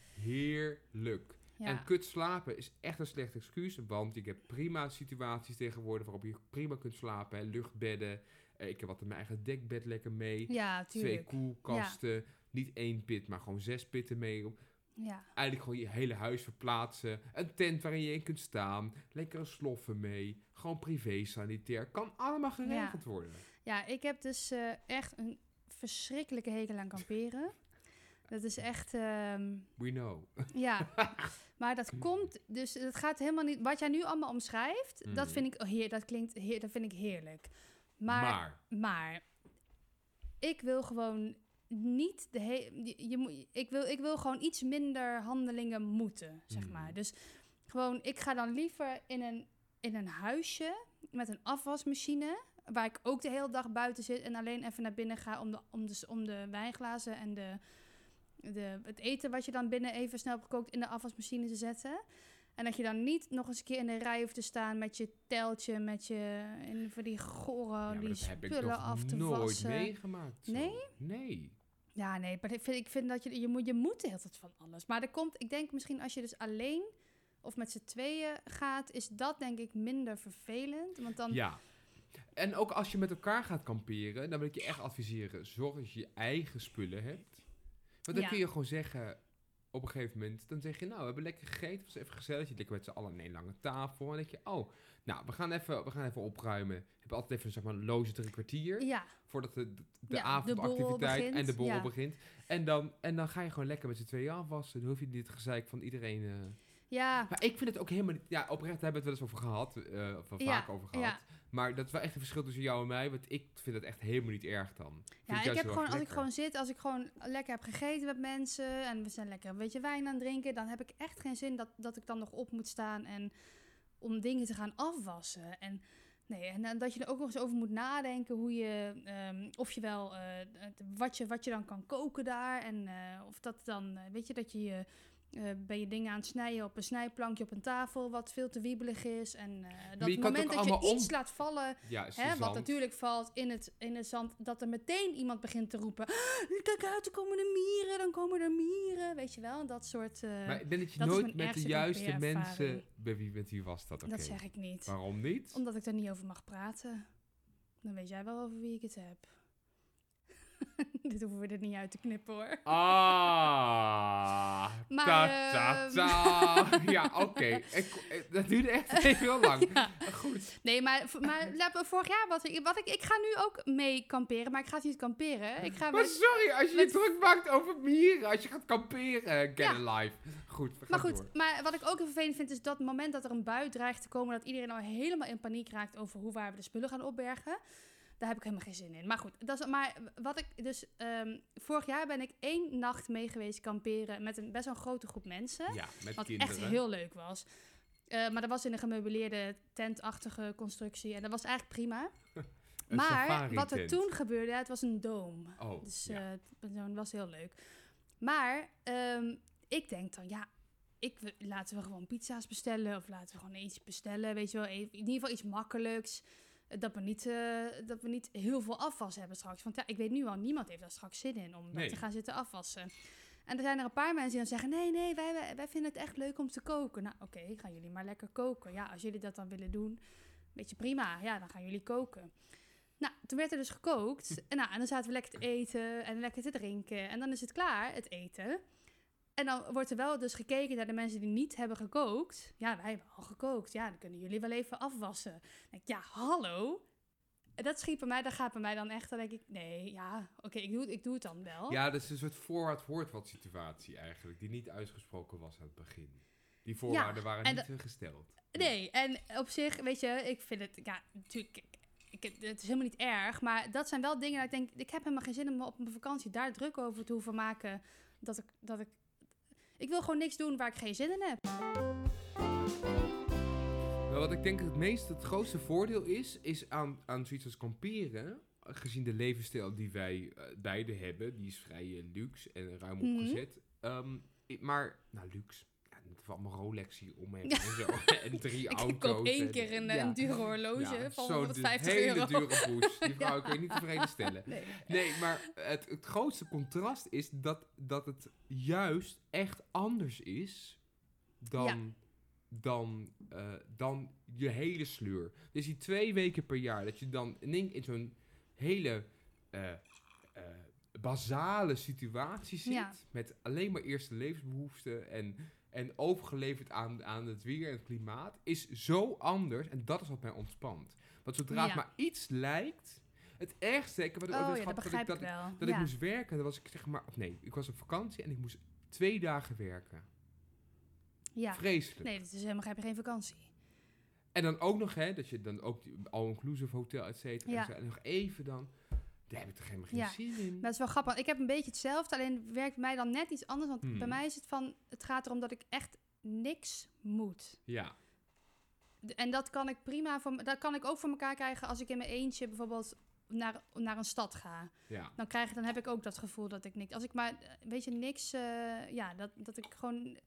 [SPEAKER 3] heerlijk.
[SPEAKER 2] Ja.
[SPEAKER 3] En kut slapen is echt een slecht excuus, want ik heb prima situaties tegenwoordig waarop je prima kunt slapen. Hè, luchtbedden, Eh, ik heb wat in mijn eigen dekbed lekker mee.
[SPEAKER 2] ja,
[SPEAKER 3] twee
[SPEAKER 2] tuurlijk.
[SPEAKER 3] koelkasten, niet één pit, maar gewoon zes pitten mee.
[SPEAKER 2] Ja,
[SPEAKER 3] Eigenlijk gewoon je hele huis verplaatsen. Een tent waarin je in kunt staan. Lekkere sloffen mee. Gewoon privé sanitair. Kan allemaal geregeld worden.
[SPEAKER 2] ja ik heb dus eh, echt een verschrikkelijke hekel aan kamperen. Dat is echt, ehm,
[SPEAKER 3] We know.
[SPEAKER 2] ja. Maar dat komt, dus het gaat helemaal niet. Wat jij nu allemaal omschrijft, dat
[SPEAKER 3] Mhm.
[SPEAKER 2] vind ik, oh, heer, dat klinkt, heer, dat vind ik heerlijk.
[SPEAKER 3] Maar,
[SPEAKER 2] Maar, maar, ik wil gewoon niet de he- je, je moet- ik, wil, ik wil gewoon iets minder handelingen moeten, zeg
[SPEAKER 3] Mhm.
[SPEAKER 2] maar. Dus gewoon, ik ga dan liever in een, in een huisje met een afwasmachine. Waar ik ook de hele dag buiten zit en alleen even naar binnen ga om de, om de, s- om de wijnglazen en de, de, het eten wat je dan binnen even snel hebt gekookt in de afwasmachine te zetten. En dat je dan niet nog eens een keer in de rij hoeft te staan met je teltje, met je en voor die gore,
[SPEAKER 3] ja, maar
[SPEAKER 2] die
[SPEAKER 3] dat heb ik
[SPEAKER 2] spullen af
[SPEAKER 3] nog
[SPEAKER 2] te
[SPEAKER 3] nooit
[SPEAKER 2] wassen.
[SPEAKER 3] meegemaakt. zo.
[SPEAKER 2] Nee?
[SPEAKER 3] Nee.
[SPEAKER 2] Ja, nee, maar ik vind, ik vind dat je, je moet, je moet de hele tijd van alles. Maar er komt, ik denk misschien als je dus alleen of met z'n tweeën gaat, is dat denk ik minder vervelend. Want dan,
[SPEAKER 3] Ja. En ook als je met elkaar gaat kamperen, dan wil ik je echt adviseren. Zorg dat je je eigen spullen hebt. Want dan
[SPEAKER 2] Ja.
[SPEAKER 3] kun je gewoon zeggen, op een gegeven moment, dan zeg je, nou, we hebben lekker gegeten. Het was even gezellig. Je zit lekker met z'n allen aan één lange tafel. En dan denk je, oh, nou, we gaan even, we gaan even opruimen. We hebben altijd even, zeg maar, een loze drie kwartier.
[SPEAKER 2] ja,
[SPEAKER 3] Voordat de, de, de
[SPEAKER 2] Ja, de borrel
[SPEAKER 3] avondactiviteit
[SPEAKER 2] begint,
[SPEAKER 3] en de borrel
[SPEAKER 2] ja.
[SPEAKER 3] begint. En dan, en dan ga je gewoon lekker met z'n tweeën afwassen. Dan hoef je dit gezeik van iedereen... eh,
[SPEAKER 2] ja,
[SPEAKER 3] maar ik vind het ook helemaal niet... Ja, oprecht daar hebben we het wel eens over gehad. eh, of wel
[SPEAKER 2] Ja,
[SPEAKER 3] vaak over gehad.
[SPEAKER 2] ja.
[SPEAKER 3] Maar dat is wel echt een verschil tussen jou en mij. Want ik vind het echt helemaal niet erg dan. Ik vind
[SPEAKER 2] ja
[SPEAKER 3] het
[SPEAKER 2] ik
[SPEAKER 3] juist
[SPEAKER 2] heb
[SPEAKER 3] heel
[SPEAKER 2] gewoon,
[SPEAKER 3] erg
[SPEAKER 2] als ik
[SPEAKER 3] lekker.
[SPEAKER 2] gewoon zit, als ik gewoon lekker heb gegeten met mensen en we zijn lekker een beetje wijn aan het drinken, dan heb ik echt geen zin dat, dat ik dan nog op moet staan en om dingen te gaan afwassen. En nee, en dan dat je er ook nog eens over moet nadenken hoe je, ehm, of je wel, eh, het- wat, je, wat je dan kan koken daar en eh, of dat dan, eh, weet je, dat je je. eh, ben je dingen aan het snijden op een snijplankje op een tafel wat veel te wiebelig is en eh, dat
[SPEAKER 3] kan het ook
[SPEAKER 2] moment dat je
[SPEAKER 3] allemaal om-
[SPEAKER 2] iets laat vallen
[SPEAKER 3] Ja, is de
[SPEAKER 2] Hè, wat
[SPEAKER 3] zand.
[SPEAKER 2] natuurlijk valt in het, in het zand, dat er meteen iemand begint te roepen: "Ah, Kijk uit, er komen er mieren, dan komen er mieren. Weet je wel, en dat soort. eh,
[SPEAKER 3] Maar ik denk dat je
[SPEAKER 2] dat is mijn
[SPEAKER 3] nooit met de
[SPEAKER 2] ergste
[SPEAKER 3] juiste
[SPEAKER 2] kampeerervaring.
[SPEAKER 3] mensen... Bij wie, met wie was dat?
[SPEAKER 2] Dat
[SPEAKER 3] Oké.
[SPEAKER 2] zeg ik niet.
[SPEAKER 3] Waarom niet?
[SPEAKER 2] Omdat ik daar niet over mag praten. Dan weet jij wel over wie ik het heb. dit hoeven we er niet uit te knippen hoor.
[SPEAKER 3] Ah,
[SPEAKER 2] Maar,
[SPEAKER 3] ta, ta,
[SPEAKER 2] ehm,
[SPEAKER 3] ta. ja, oké. Ik- eh, Dat duurde echt heel lang.
[SPEAKER 2] Ja.
[SPEAKER 3] Goed.
[SPEAKER 2] Nee, maar, v- maar laat me- vorig jaar wat ik, wat ik. Ik ga nu ook mee kamperen, maar ik ga het niet kamperen. Ik ga
[SPEAKER 3] Maar
[SPEAKER 2] met-
[SPEAKER 3] sorry, als je je
[SPEAKER 2] met-
[SPEAKER 3] druk maakt over mieren, als je gaat kamperen, Eh, get
[SPEAKER 2] Ja.
[SPEAKER 3] a life. Goed, we
[SPEAKER 2] Maar
[SPEAKER 3] gaan
[SPEAKER 2] goed,
[SPEAKER 3] door.
[SPEAKER 2] maar wat ik ook heel vervelend vind, is dat moment dat er een bui dreigt te komen, dat iedereen al helemaal in paniek raakt over hoe waar we de spullen gaan opbergen. Daar heb ik helemaal geen zin in. Maar goed, dat is, maar wat ik dus. ehm, vorig jaar ben ik één nacht mee geweest kamperen met een best wel een grote groep mensen.
[SPEAKER 3] Ja, met
[SPEAKER 2] Wat
[SPEAKER 3] kinderen.
[SPEAKER 2] echt heel leuk was. Eh, maar dat was in een gemeubileerde tentachtige constructie. En dat was eigenlijk prima.
[SPEAKER 3] Een
[SPEAKER 2] maar
[SPEAKER 3] safari
[SPEAKER 2] wat er
[SPEAKER 3] tent.
[SPEAKER 2] toen gebeurde, het was een doom.
[SPEAKER 3] Oh,
[SPEAKER 2] Dus
[SPEAKER 3] ja.
[SPEAKER 2] eh, dat was heel leuk. Maar ehm, ik denk dan, ja, ik, wil- laten we gewoon pizza's bestellen. Of laten we gewoon iets bestellen. Weet je wel, even- in ieder geval iets makkelijks. eh, Dat we, niet, eh, dat we niet heel veel afwas hebben straks. Want ja, ik weet nu al, niemand heeft daar straks zin in om dat
[SPEAKER 3] Nee.
[SPEAKER 2] te gaan zitten afwassen. En er zijn er een paar mensen die dan zeggen: Nee, nee, wij, wij- wij vinden het echt leuk om te koken. Nou, oké, gaan jullie maar lekker koken. Ja, als jullie dat dan willen doen, beetje prima. Ja, dan gaan jullie koken. Nou, toen werd er dus gekookt. En, nou, en dan zaten we lekker te eten en lekker te drinken. En dan is het klaar, het eten. En dan wordt er wel dus gekeken naar de mensen die niet hebben gekookt. Ja, wij hebben al gekookt. Ja, dan kunnen jullie wel even afwassen. Dan denk ik, ja, hallo. En Dat schiet bij mij, dat gaat bij mij dan echt. Dan denk ik, nee, ja, oké, ik, doe, het- ik doe het dan wel.
[SPEAKER 3] Ja, dat is een soort voorwaard hoort wat situatie eigenlijk, die niet uitgesproken was aan het begin. Die voorwaarden waren
[SPEAKER 2] en
[SPEAKER 3] niet eh, gesteld.
[SPEAKER 2] Nee, en op zich, weet je, ik vind het, ja, natuurlijk, ik, ik ik, het is helemaal niet erg, maar dat zijn wel dingen dat ik denk, ik heb helemaal geen zin om me op mijn vakantie daar druk over te hoeven maken. Dat ik, dat ik, ik wil gewoon niks doen waar ik geen zin in heb.
[SPEAKER 3] Maar wat ik denk het meest, het grootste voordeel is, is aan, aan zoiets als kamperen, gezien de levensstijl die wij eh, beide hebben, die is vrij eh, luxe en ruim
[SPEAKER 2] Mhm.
[SPEAKER 3] opgezet. Ehm, i- maar, nou luxe, ja, het is allemaal Rolex hier om hebben en zo, en drie auto's.
[SPEAKER 2] ik koop één
[SPEAKER 3] en-
[SPEAKER 2] keer een, eh,
[SPEAKER 3] Ja.
[SPEAKER 2] een dure horloge
[SPEAKER 3] Ja,
[SPEAKER 2] van
[SPEAKER 3] zo'n
[SPEAKER 2] 150
[SPEAKER 3] hele
[SPEAKER 2] euro.
[SPEAKER 3] dure poes. Die vrouw kun je niet tevreden stellen.
[SPEAKER 2] Nee.
[SPEAKER 3] Nee, maar het, het grootste contrast is dat, dat het juist echt anders is dan, dan, eh, dan je hele sleur. Dus die twee weken per jaar dat je dan in, één- in zo'n hele eh, eh, basale situatie zit.
[SPEAKER 2] Ja.
[SPEAKER 3] Met alleen maar eerste levensbehoeften en, en overgeleverd aan, aan het weer en het klimaat. Is zo anders en dat is wat mij ontspant. Want zodra
[SPEAKER 2] Ja.
[SPEAKER 3] het maar iets lijkt. Het ergste, ik heb het ooit
[SPEAKER 2] Oh
[SPEAKER 3] eens
[SPEAKER 2] ja, dat
[SPEAKER 3] gehad
[SPEAKER 2] begrijp ik
[SPEAKER 3] dat ik, dat
[SPEAKER 2] wel.
[SPEAKER 3] dat
[SPEAKER 2] ja.
[SPEAKER 3] ik moest werken, dan was ik zeg maar, of nee, ik was op vakantie en ik moest twee dagen werken.
[SPEAKER 2] ja.
[SPEAKER 3] Vreselijk.
[SPEAKER 2] Nee, dat is helemaal heb je geen vakantie.
[SPEAKER 3] En dan ook nog, hè, dat je dan ook die all-inclusive hotel, et cetera.
[SPEAKER 2] Ja.
[SPEAKER 3] en zo. En nog even dan, daar heb ik toch helemaal geen
[SPEAKER 2] Ja.
[SPEAKER 3] zin in.
[SPEAKER 2] Maar dat is wel grappig. Ik heb een beetje hetzelfde, alleen werkt bij mij dan net iets anders. Want
[SPEAKER 3] Hmm.
[SPEAKER 2] bij mij is het van, het gaat erom dat ik echt niks moet.
[SPEAKER 3] Ja,
[SPEAKER 2] D- En dat kan ik prima voor, m- dat kan ik ook voor elkaar krijgen als ik in mijn eentje bijvoorbeeld naar, naar een stad ga.
[SPEAKER 3] ja.
[SPEAKER 2] Dan, krijg, dan heb ik ook dat gevoel dat ik niks. Als ik maar, eh, weet je, niks. eh, ja, dat, dat ik gewoon.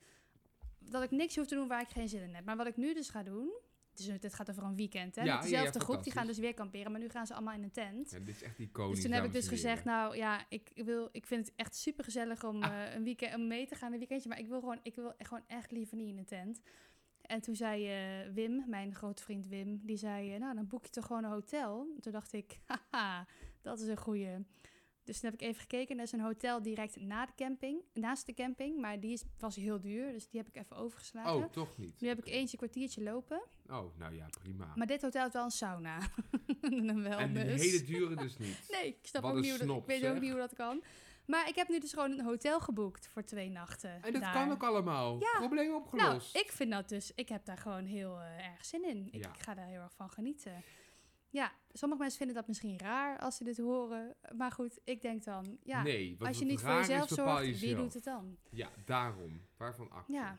[SPEAKER 2] Dat ik niks hoef te doen waar ik geen zin in heb. Maar wat ik nu dus ga doen. Dus dit gaat over een weekend, hè?
[SPEAKER 3] Ja,
[SPEAKER 2] met
[SPEAKER 3] ja, ja,
[SPEAKER 2] dezelfde groep, die gaan dus
[SPEAKER 3] fantastisch.
[SPEAKER 2] weer kamperen. Maar nu gaan ze allemaal in een tent.
[SPEAKER 3] En dit is echt iconisch.
[SPEAKER 2] Dus toen heb ik
[SPEAKER 3] dames
[SPEAKER 2] dus
[SPEAKER 3] en
[SPEAKER 2] gezegd,
[SPEAKER 3] heren. Ah.
[SPEAKER 2] nou ja, ik, wil, ik vind het echt super gezellig om, eh, een weekend, om mee te gaan een weekendje. Maar ik wil, gewoon, ik wil e- gewoon echt liever niet in een tent. En toen zei eh, Wim, mijn grote vriend Wim, die zei, eh, nou dan boek je toch gewoon een hotel. Toen dacht ik, haha, dat is een goeie. Dus toen heb ik even gekeken. Er is een hotel direct na de camping, naast de camping. Maar die is, was heel duur, dus die heb ik even overgeslagen.
[SPEAKER 3] Oh, toch niet.
[SPEAKER 2] nu heb ik
[SPEAKER 3] Oké.
[SPEAKER 2] eentje kwartiertje lopen.
[SPEAKER 3] Oh, nou ja, prima.
[SPEAKER 2] Maar dit hotel heeft wel een sauna. en wel
[SPEAKER 3] en de
[SPEAKER 2] dus.
[SPEAKER 3] hele dure dus niet.
[SPEAKER 2] Nee, ik snap
[SPEAKER 3] Wat
[SPEAKER 2] ook
[SPEAKER 3] een
[SPEAKER 2] niet hoe dat, ik
[SPEAKER 3] snop,
[SPEAKER 2] weet ook
[SPEAKER 3] zeg.
[SPEAKER 2] niet hoe dat kan. Maar ik heb nu dus gewoon een hotel geboekt voor twee nachten.
[SPEAKER 3] En dat
[SPEAKER 2] daar.
[SPEAKER 3] kan ook allemaal.
[SPEAKER 2] Ja.
[SPEAKER 3] Probleem
[SPEAKER 2] Nou,
[SPEAKER 3] opgelost.
[SPEAKER 2] ik vind dat dus, ik heb daar gewoon heel eh, erg zin in. Ik,
[SPEAKER 3] Ja.
[SPEAKER 2] ik ga daar heel erg van genieten. Ja, sommige mensen vinden dat misschien raar als ze dit horen. Maar goed, ik denk dan, ja,
[SPEAKER 3] nee, want
[SPEAKER 2] als je
[SPEAKER 3] wat
[SPEAKER 2] niet voor
[SPEAKER 3] raar is,
[SPEAKER 2] jezelf
[SPEAKER 3] bepaal
[SPEAKER 2] zorgt,
[SPEAKER 3] je
[SPEAKER 2] wie
[SPEAKER 3] zelf.
[SPEAKER 2] doet het dan?
[SPEAKER 3] Ja, daarom. Waarvan acte.
[SPEAKER 2] Ja.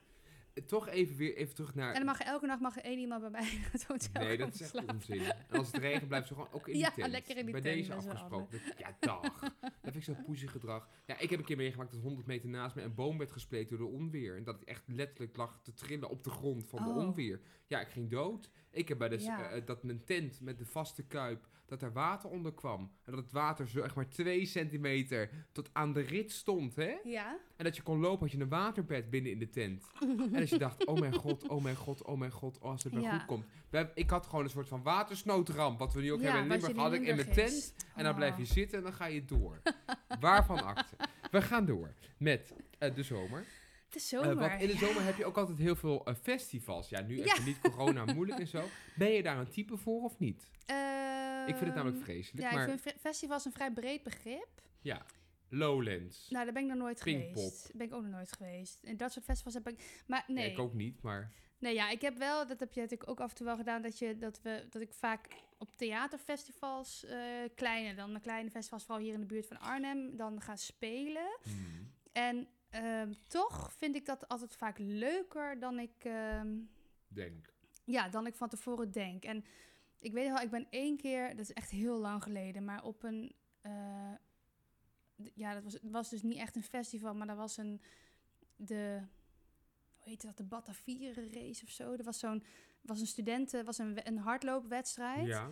[SPEAKER 3] Eh, Toch even weer even terug naar...
[SPEAKER 2] En dan mag elke nacht mag er één iemand bij mij in het hotel
[SPEAKER 3] nee, dat
[SPEAKER 2] komen
[SPEAKER 3] is echt
[SPEAKER 2] slapen.
[SPEAKER 3] onzin. En als het regent blijft ze gewoon ook in
[SPEAKER 2] Ja,
[SPEAKER 3] die tent.
[SPEAKER 2] lekker in die
[SPEAKER 3] Bij
[SPEAKER 2] tent,
[SPEAKER 3] deze
[SPEAKER 2] dat is wel
[SPEAKER 3] afgesproken. Ja, dag. Dat vind ik zo'n poesie gedrag. Ja, ik heb een keer meegemaakt dat 100 meter naast me een boom werd gespleten door de onweer. En dat ik echt letterlijk lag te trillen op de grond van de
[SPEAKER 2] Oh.
[SPEAKER 3] onweer. Ja, ik ging dood. Ik heb bij de, s-
[SPEAKER 2] Ja.
[SPEAKER 3] eh, dat mijn tent met de vaste kuip, dat er water onder kwam. En dat het water zo echt maar 2 centimeter tot aan de rit stond, hè?
[SPEAKER 2] Ja,
[SPEAKER 3] En dat je kon lopen, had je een waterbed binnen in de tent. en dat je dacht, oh mijn god, oh mijn god, oh mijn god, oh, als het maar
[SPEAKER 2] Ja.
[SPEAKER 3] goed komt. We hebben- ik had gewoon een soort van watersnoodramp, wat we nu ook
[SPEAKER 2] Ja,
[SPEAKER 3] hebben in
[SPEAKER 2] wat je
[SPEAKER 3] Limburg,
[SPEAKER 2] in
[SPEAKER 3] had ik in mijn
[SPEAKER 2] Limburg
[SPEAKER 3] tent.
[SPEAKER 2] is.
[SPEAKER 3] En dan blijf
[SPEAKER 2] Oh.
[SPEAKER 3] je zitten en dan ga je door. Waarvan acte? We gaan door met eh, de zomer.
[SPEAKER 2] Het is
[SPEAKER 3] Eh,
[SPEAKER 2] zomer.
[SPEAKER 3] want in de zomer heb je ook altijd heel veel eh, festivals. Ja, nu
[SPEAKER 2] Ja.
[SPEAKER 3] even niet corona moeilijk en zo. Ben je daar een type voor of niet? ik vind het namelijk
[SPEAKER 2] Ehm,
[SPEAKER 3] vreselijk,
[SPEAKER 2] Ja,
[SPEAKER 3] maar
[SPEAKER 2] ik vind fre- festivals een vrij breed begrip.
[SPEAKER 3] ja. Lowlands.
[SPEAKER 2] Nou, daar ben ik nog nooit
[SPEAKER 3] Pinkpop.
[SPEAKER 2] geweest. Ben ik ook nog nooit geweest. En dat soort festivals heb ik. Maar
[SPEAKER 3] Ja,
[SPEAKER 2] nee.
[SPEAKER 3] ik ook niet, maar
[SPEAKER 2] Nee, ja, ik heb wel, dat heb je natuurlijk ook af en toe wel gedaan, dat, je, dat, we, dat ik vaak op theaterfestivals, eh, kleine dan, de kleine festivals, vooral hier in de buurt van Arnhem, dan ga spelen.
[SPEAKER 3] hmm,
[SPEAKER 2] En ehm, toch vind ik dat altijd vaak leuker dan ik, ehm,
[SPEAKER 3] denk.
[SPEAKER 2] ja, dan ik van tevoren denk. En ik weet wel, ik ben één keer, dat is echt heel lang geleden, maar op een. eh, d- ja, dat was, het was dus niet echt een festival, maar dat was een. De. Hoe heette dat? De Batavieren race of zo. Er was zo'n. was een studenten. was een, we- een hardloopwedstrijd.
[SPEAKER 3] Ja.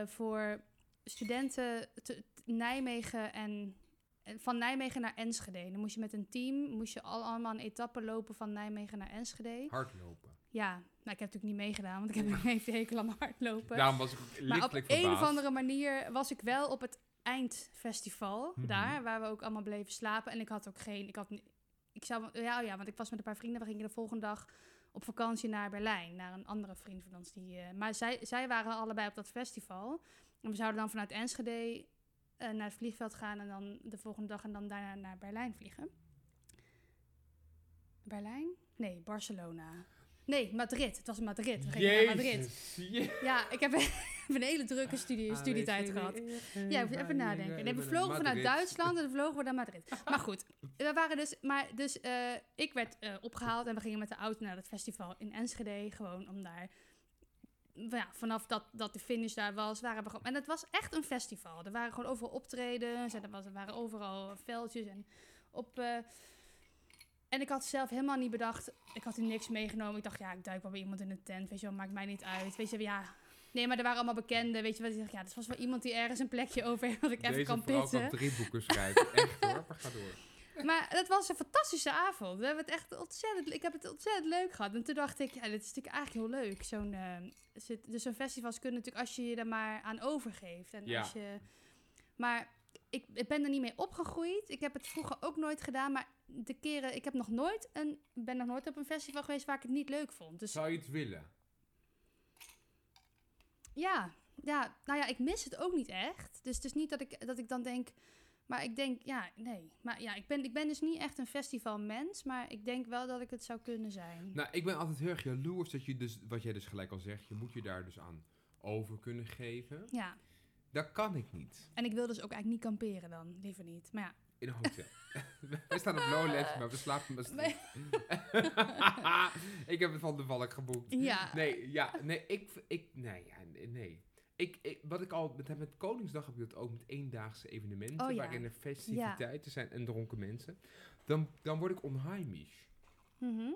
[SPEAKER 2] eh, voor studenten te- t- Nijmegen en. en Van Nijmegen naar Enschede. Dan moest je met een team, moest je al allemaal een etappe lopen van Nijmegen naar Enschede.
[SPEAKER 3] Hardlopen.
[SPEAKER 2] Ja, nou, ik heb natuurlijk niet meegedaan, want ik heb een hele hekel aan hardlopen.
[SPEAKER 3] Daarom was ik ook
[SPEAKER 2] maar op
[SPEAKER 3] lichtelijk
[SPEAKER 2] een
[SPEAKER 3] verbaasd.
[SPEAKER 2] of andere manier was ik wel op het eindfestival
[SPEAKER 3] Mhm.
[SPEAKER 2] daar, waar we ook allemaal bleven slapen. En ik had ook geen, ik had, ni- ik zou, ja, oh ja, want ik was met een paar vrienden, we gingen de volgende dag op vakantie naar Berlijn, naar een andere vriend van ons. Die, eh, maar zij, zij waren allebei op dat festival. En we zouden dan vanuit Enschede eh, naar het vliegveld gaan en dan de volgende dag en dan daarna naar Berlijn vliegen. Berlijn? Nee, Barcelona. Nee, Madrid. Het was Madrid. We gingen naar Madrid.
[SPEAKER 3] Jezus. je-
[SPEAKER 2] Ja, ik heb een hele drukke studie, studietijd gehad. Ja, moet je eh, even nadenken. Nee, we vlogen vanuit Duitsland en dan vlogen we naar Madrid. Maar goed, we waren dus... Maar dus eh, ik werd eh, opgehaald en we gingen met de auto naar het festival in Enschede. Gewoon om daar... Ja, vanaf dat, dat de finish daar was, waren we gewoon... En het was echt een festival. Er waren gewoon overal optredens en er, was, er waren overal veldjes en op... eh, en ik had zelf helemaal niet bedacht... Ik had hier niks meegenomen. Ik dacht, ja, ik duik wel bij iemand in een tent. Weet je wel, maakt mij niet uit. Weet je, ja, Nee, maar er waren allemaal bekenden, weet je wat? Ik dacht, ja, dat was wel iemand die ergens een plekje over heeft, wat ik even
[SPEAKER 3] Deze
[SPEAKER 2] kan
[SPEAKER 3] vrouw
[SPEAKER 2] pitten.
[SPEAKER 3] kan drie boeken schrijven. Echt hoor, maar ga door.
[SPEAKER 2] Maar het was een fantastische avond. We hebben het echt ontzettend, ik heb het ontzettend leuk gehad. En toen dacht ik, ja, dit is natuurlijk eigenlijk heel leuk. Zo'n, eh, zit- dus zo'n festivals kunnen natuurlijk, als je je er maar aan overgeeft. En
[SPEAKER 3] Ja.
[SPEAKER 2] als je, maar ik, ik ben er niet mee opgegroeid. Ik heb het vroeger ook nooit gedaan. Maar de keren, ik heb nog nooit een, ben nog nooit op een festival geweest waar ik het niet leuk vond. Dus
[SPEAKER 3] Zou je het willen?
[SPEAKER 2] Ja, ja, nou ja, ik mis het ook niet echt. Dus het is niet dat ik, dat ik dan denk. Maar ik denk, ja, nee. Maar ja, ik ben, ik ben dus niet echt een festivalmens. Maar ik denk wel dat ik het zou kunnen zijn.
[SPEAKER 3] Nou, ik ben altijd heel erg jaloers dat je dus, wat jij dus gelijk al zegt, je moet je daar dus aan over kunnen geven.
[SPEAKER 2] Ja,
[SPEAKER 3] Dat kan ik niet.
[SPEAKER 2] en ik wil dus ook eigenlijk niet kamperen dan. Liever niet. Maar ja,
[SPEAKER 3] In een hotel. Wij staan op Lowlands, maar we slapen in Maastricht. ik heb het van de Valk geboekt.
[SPEAKER 2] Ja.
[SPEAKER 3] Nee, ja, nee, ik, ik, nee, ja, nee. Ik, ik- wat ik al, met, met Koningsdag heb je dat ook met eendaagse evenementen,
[SPEAKER 2] Oh, ja.
[SPEAKER 3] waarin er festiviteiten zijn en dronken mensen. Dan, dan word ik onheimisch.
[SPEAKER 2] mhm.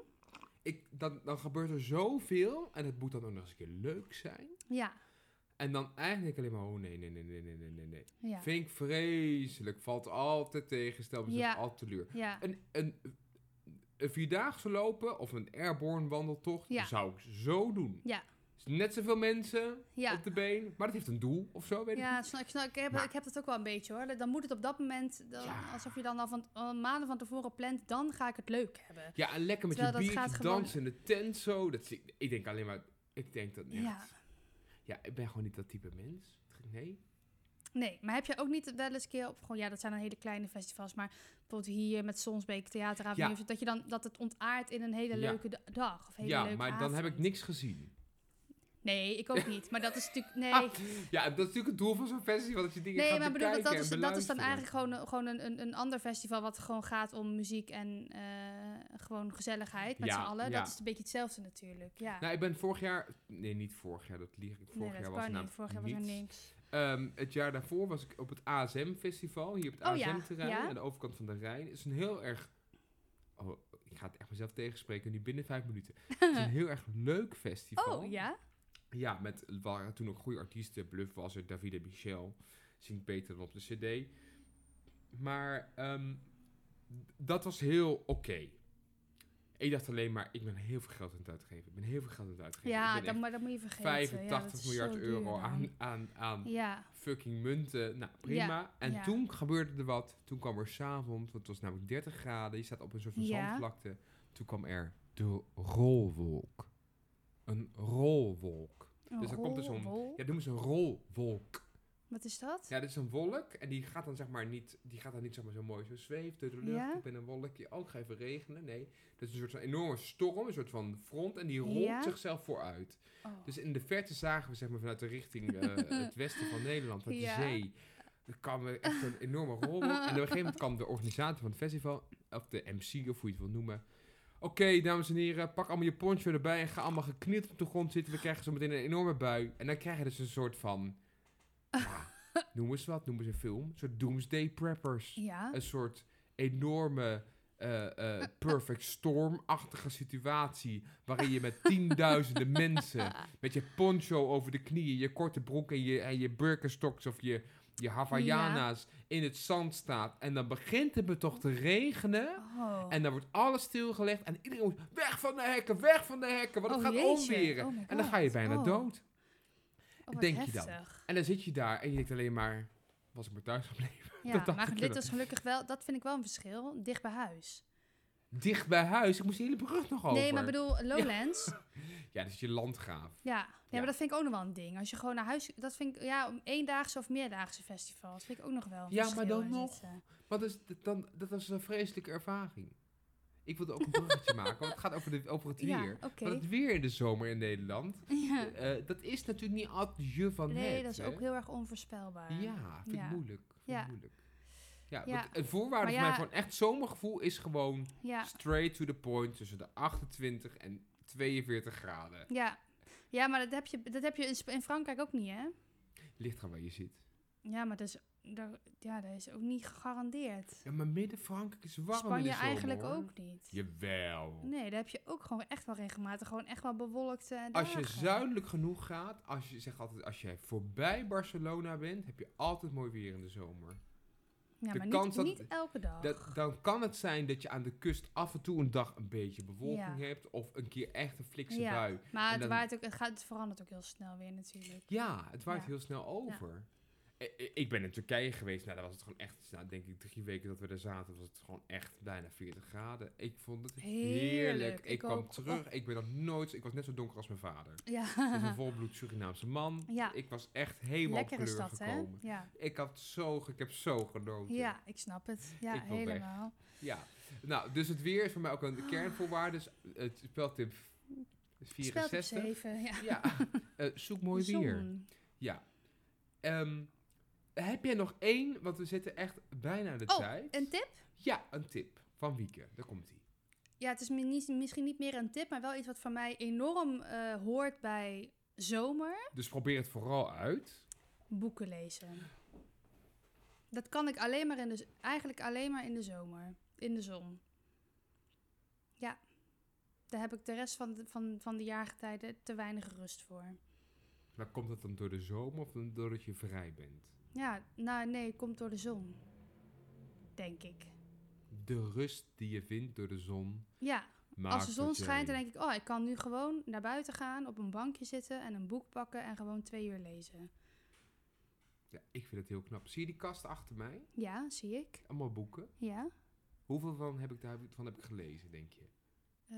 [SPEAKER 3] Ik, dan, dan gebeurt er zoveel en het moet dan ook nog eens een keer leuk zijn.
[SPEAKER 2] ja,
[SPEAKER 3] En dan eigenlijk alleen maar, oh nee, nee, nee, nee, nee, nee, nee, nee.
[SPEAKER 2] ja.
[SPEAKER 3] Vind ik vreselijk. Valt altijd tegen, stel me
[SPEAKER 2] Ja.
[SPEAKER 3] altijd teleur.
[SPEAKER 2] ja.
[SPEAKER 3] Een, een, een vierdaagse lopen of een airborne wandeltocht
[SPEAKER 2] Ja.
[SPEAKER 3] zou ik zo doen.
[SPEAKER 2] Ja.
[SPEAKER 3] Is Net zoveel mensen
[SPEAKER 2] Ja,
[SPEAKER 3] op de been, maar dat heeft een doel of zo, weet ik
[SPEAKER 2] ja snap, ik snap, ik, heb,
[SPEAKER 3] Maar-
[SPEAKER 2] ik heb dat ook wel een beetje hoor. Dan moet het op dat moment, dan,
[SPEAKER 3] Ja.
[SPEAKER 2] alsof je dan al van al maanden van tevoren plant, dan ga ik het leuk hebben.
[SPEAKER 3] niet. Ja, en lekker met
[SPEAKER 2] Terwijl
[SPEAKER 3] je
[SPEAKER 2] dat gaat
[SPEAKER 3] biertje
[SPEAKER 2] gewoon-
[SPEAKER 3] dansen in de tent zo. Dat zie ik, ik denk alleen maar, ik denk dat echt.
[SPEAKER 2] Ja.
[SPEAKER 3] Ja. ik ben gewoon niet dat type mens. Nee.
[SPEAKER 2] Nee, maar heb je ook niet wel eens een keer op gewoon, ja, dat zijn dan hele kleine festivals, maar bijvoorbeeld hier met Sonsbeek Theateravond,
[SPEAKER 3] Ja.
[SPEAKER 2] of zo, dat je dan dat het ontaart in een hele
[SPEAKER 3] Ja.
[SPEAKER 2] leuke da- dag of hele
[SPEAKER 3] ja,
[SPEAKER 2] leuke
[SPEAKER 3] maar dan heb ik
[SPEAKER 2] avond.
[SPEAKER 3] niks gezien.
[SPEAKER 2] Nee, ik ook niet. Maar dat is natuurlijk nee.
[SPEAKER 3] Ah, ja, dat is natuurlijk het doel van zo'n festival, dat je dingen
[SPEAKER 2] Nee,
[SPEAKER 3] gaat
[SPEAKER 2] maar ik bedoel, dat, dat,
[SPEAKER 3] bekijken
[SPEAKER 2] is,
[SPEAKER 3] en
[SPEAKER 2] dat is dan
[SPEAKER 3] beluisteren.
[SPEAKER 2] eigenlijk gewoon, een- gewoon een, een, een ander festival wat gewoon gaat om muziek en eh, gewoon gezelligheid met
[SPEAKER 3] Ja,
[SPEAKER 2] z'n allen.
[SPEAKER 3] ja.
[SPEAKER 2] Dat is een beetje hetzelfde natuurlijk. Ja,
[SPEAKER 3] Nou, ik ben vorig jaar... Nee, niet vorig jaar, dat lieg ik. Vorig
[SPEAKER 2] nee,
[SPEAKER 3] jaar
[SPEAKER 2] dat
[SPEAKER 3] was
[SPEAKER 2] kan niet.
[SPEAKER 3] namelijk
[SPEAKER 2] Vorig jaar was er
[SPEAKER 3] niets.
[SPEAKER 2] niks.
[SPEAKER 3] Ehm, het jaar daarvoor was ik op het ASM-festival, hier op het
[SPEAKER 2] Oh ja,
[SPEAKER 3] ASM-terrein,
[SPEAKER 2] ja.
[SPEAKER 3] aan de overkant van de Rijn. Het is een heel erg... Oh, ik ga het echt mezelf tegenspreken, nu binnen vijf minuten. Het is een heel erg leuk festival.
[SPEAKER 2] Oh ja?
[SPEAKER 3] Ja, met er waren toen ook goede artiesten. Bluff was er, Davide Michel, zingt beter dan op de cd. Maar ehm, dat was heel oké. Ik dacht alleen maar, ik ben heel veel geld aan het uitgeven. Ik ben heel veel geld aan het uitgeven. Ik
[SPEAKER 2] Ja,
[SPEAKER 3] ben
[SPEAKER 2] dat,
[SPEAKER 3] echt
[SPEAKER 2] maar dat moet je vergeten. Ja, dat is
[SPEAKER 3] 85
[SPEAKER 2] zo
[SPEAKER 3] miljard
[SPEAKER 2] duur
[SPEAKER 3] euro
[SPEAKER 2] dan.
[SPEAKER 3] aan, aan, aan
[SPEAKER 2] Ja,
[SPEAKER 3] fucking munten. Nou, prima. en
[SPEAKER 2] ja.
[SPEAKER 3] toen gebeurde er wat. Toen kwam er s'avonds, want het was namelijk 30 graden. Je staat op een soort van
[SPEAKER 2] Ja.
[SPEAKER 3] zandvlakte. Toen kwam er de rolwolk. Een rolwolk.
[SPEAKER 2] een
[SPEAKER 3] Dus dan komt er zo'n-
[SPEAKER 2] rolwol.
[SPEAKER 3] Ja, noemen ze een rolwolk.
[SPEAKER 2] Wat is dat?
[SPEAKER 3] Ja, dit is een wolk. En die gaat dan zeg maar niet, die gaat dan niet zeg maar zo mooi zo zweeft door de lucht.
[SPEAKER 2] Ja.
[SPEAKER 3] Ik ben een wolkje. Oh, ik ga even regenen. Nee, dat is een soort van enorme storm, een soort van front. En die rolt
[SPEAKER 2] Ja.
[SPEAKER 3] zichzelf vooruit.
[SPEAKER 2] Oh.
[SPEAKER 3] Dus in de verte zagen we zeg maar, vanuit de richting eh, het westen van Nederland, vanuit
[SPEAKER 2] Ja.
[SPEAKER 3] de zee. Er kwam er echt een enorme rol. En op een gegeven moment kwam de organisator van het festival, of de MC of hoe je het wil noemen. Oké, dames en heren, pak allemaal je poncho erbij en ga allemaal geknield op de grond zitten. We krijgen zo meteen een enorme bui. En dan krijg je dus een soort van, ja, noem eens wat, noem eens een film. Een soort doomsday preppers.
[SPEAKER 2] Ja.
[SPEAKER 3] Een soort enorme eh, eh, perfect storm-achtige situatie. Waarin je met tienduizenden mensen, met je poncho over de knieën, je korte broek en je, en je Birkenstocks of je, je Havaianas in het zand staat. En dan begint het me toch te regenen.
[SPEAKER 2] Oh.
[SPEAKER 3] En dan wordt alles stilgelegd en iedereen moet weg van de hekken, weg van de hekken, want het
[SPEAKER 2] Oh,
[SPEAKER 3] gaat
[SPEAKER 2] jeetje.
[SPEAKER 3] onweren.
[SPEAKER 2] Oh my
[SPEAKER 3] en dan ga je
[SPEAKER 2] God.
[SPEAKER 3] bijna
[SPEAKER 2] Oh.
[SPEAKER 3] dood.
[SPEAKER 2] Oh, wat
[SPEAKER 3] denk je dan?
[SPEAKER 2] heftig.
[SPEAKER 3] En dan zit je daar en je denkt alleen maar, was ik maar thuis gebleven?
[SPEAKER 2] Ja,
[SPEAKER 3] Dat dacht
[SPEAKER 2] maar
[SPEAKER 3] ik
[SPEAKER 2] dit
[SPEAKER 3] wel.
[SPEAKER 2] is gelukkig wel, dat vind ik wel een verschil, dicht bij huis.
[SPEAKER 3] Dicht bij huis, ik moest die hele brug nog over.
[SPEAKER 2] Nee, maar ik bedoel, Lowlands, ja.
[SPEAKER 3] Ja, dat is je landgraaf.
[SPEAKER 2] Ja. maar
[SPEAKER 3] Ja.
[SPEAKER 2] dat vind ik ook nog wel een ding. Als je gewoon naar huis, dat vind ik, ja, om eendaagse of meerdaagse festivals, vind ik ook nog wel een
[SPEAKER 3] Ja, maar
[SPEAKER 2] verschil
[SPEAKER 3] dan
[SPEAKER 2] in
[SPEAKER 3] nog.
[SPEAKER 2] zitten.
[SPEAKER 3] Wat is dit dan, dat was een vreselijke ervaring. Ik wilde ook een bruggetje maken, want het gaat over, de, over het
[SPEAKER 2] Ja,
[SPEAKER 3] weer.
[SPEAKER 2] oké.
[SPEAKER 3] Want het weer in de zomer in Nederland,
[SPEAKER 2] Ja.
[SPEAKER 3] eh, dat is natuurlijk niet altijd je van
[SPEAKER 2] Nee,
[SPEAKER 3] het,
[SPEAKER 2] dat is
[SPEAKER 3] hè?
[SPEAKER 2] ook heel erg onvoorspelbaar.
[SPEAKER 3] Ja, vind ik
[SPEAKER 2] Ja.
[SPEAKER 3] moeilijk. Vind ik
[SPEAKER 2] Ja.
[SPEAKER 3] moeilijk. Ja,
[SPEAKER 2] Ja.
[SPEAKER 3] want een
[SPEAKER 2] Maar
[SPEAKER 3] voorwaarde voor mij
[SPEAKER 2] ja-
[SPEAKER 3] gewoon echt zomergevoel is gewoon
[SPEAKER 2] Ja.
[SPEAKER 3] straight to the point tussen de 28 en 42 graden.
[SPEAKER 2] Ja, ja maar dat heb je, dat heb je in, Sp- in Frankrijk ook niet, hè?
[SPEAKER 3] Ligt aan waar je zit.
[SPEAKER 2] Ja, maar dat is, daar, ja, dat is ook niet gegarandeerd.
[SPEAKER 3] Ja, maar Midden-Frankrijk is warm in de
[SPEAKER 2] Spanje
[SPEAKER 3] zomer,
[SPEAKER 2] eigenlijk
[SPEAKER 3] hoor.
[SPEAKER 2] ook niet.
[SPEAKER 3] Jawel.
[SPEAKER 2] Nee, daar heb je ook gewoon echt wel regelmatig gewoon echt wel bewolkt. eh,
[SPEAKER 3] Als je
[SPEAKER 2] dagen.
[SPEAKER 3] zuidelijk genoeg gaat, als je zegt altijd, als je voorbij Barcelona bent, heb je altijd mooi weer in de zomer.
[SPEAKER 2] Ja,
[SPEAKER 3] de
[SPEAKER 2] maar
[SPEAKER 3] kans
[SPEAKER 2] niet,
[SPEAKER 3] dat-
[SPEAKER 2] niet elke dag.
[SPEAKER 3] Dat, dan kan het zijn dat je aan de kust af en toe een dag een beetje bewolking
[SPEAKER 2] Ja.
[SPEAKER 3] hebt of een keer echt een flikse
[SPEAKER 2] Ja.
[SPEAKER 3] bui.
[SPEAKER 2] maar
[SPEAKER 3] en
[SPEAKER 2] het,
[SPEAKER 3] dan-
[SPEAKER 2] waait ook, het, gaat, het verandert ook heel snel weer natuurlijk.
[SPEAKER 3] Ja, het waait
[SPEAKER 2] Ja.
[SPEAKER 3] heel snel over. I- i- Ik ben in Turkije geweest, nou, daar was het gewoon echt, nou, denk ik drie weken dat we daar zaten, was het gewoon echt bijna 40 graden. Ik vond het heerlijk.
[SPEAKER 2] Heerlijk,
[SPEAKER 3] Ik,
[SPEAKER 2] ik
[SPEAKER 3] kwam
[SPEAKER 2] ook.
[SPEAKER 3] terug, ik ben nog nooit, ik was net zo donker als mijn vader.
[SPEAKER 2] Ja,
[SPEAKER 3] Dus een volbloed Surinaamse man.
[SPEAKER 2] Ja.
[SPEAKER 3] Ik was echt helemaal op
[SPEAKER 2] lekker
[SPEAKER 3] kleur
[SPEAKER 2] is dat, hè?
[SPEAKER 3] gekomen.
[SPEAKER 2] Ja.
[SPEAKER 3] Ik had zo, ge- ik heb zo genoten.
[SPEAKER 2] ja, ik snap het. Ja,
[SPEAKER 3] Ik wil weg.
[SPEAKER 2] helemaal.
[SPEAKER 3] Ja. Nou, dus het weer is voor mij ook
[SPEAKER 2] Ah.
[SPEAKER 3] een kernvoorwaarde. Dus het speltip
[SPEAKER 2] Spelt op
[SPEAKER 3] 64.
[SPEAKER 2] 7, ja.
[SPEAKER 3] Ja. Eh, zoek mooi
[SPEAKER 2] De
[SPEAKER 3] weer.
[SPEAKER 2] zon.
[SPEAKER 3] Ja. Ehm, heb jij nog één? Want we zitten echt bijna aan de
[SPEAKER 2] Oh,
[SPEAKER 3] tijd.
[SPEAKER 2] een tip?
[SPEAKER 3] Ja, een tip van Wieke. Daar komt ie.
[SPEAKER 2] ja, het is mi- niet- misschien niet meer een tip, maar wel iets wat van mij enorm eh, hoort bij zomer.
[SPEAKER 3] Dus probeer het vooral uit.
[SPEAKER 2] Boeken lezen. Dat kan ik alleen maar in de, z- eigenlijk alleen maar in de zomer. In de zon. Ja. Daar heb ik de rest van de, van, van de jaargetijden te weinig rust voor.
[SPEAKER 3] Maar komt dat dan door de zomer of dan doordat je vrij bent?
[SPEAKER 2] Ja, nou nee, het komt door de zon. Denk ik.
[SPEAKER 3] De rust die je vindt door de zon.
[SPEAKER 2] Ja,
[SPEAKER 3] Maakt
[SPEAKER 2] als de zon
[SPEAKER 3] dat jij-
[SPEAKER 2] schijnt, dan denk ik, oh, ik kan nu gewoon naar buiten gaan, op een bankje zitten en een boek pakken en gewoon twee uur lezen.
[SPEAKER 3] Ja, ik vind het heel knap. Zie je die kast achter mij?
[SPEAKER 2] Ja, zie ik.
[SPEAKER 3] Allemaal boeken.
[SPEAKER 2] Ja.
[SPEAKER 3] Hoeveel van heb ik daarvan heb ik gelezen, denk je?
[SPEAKER 2] Eh,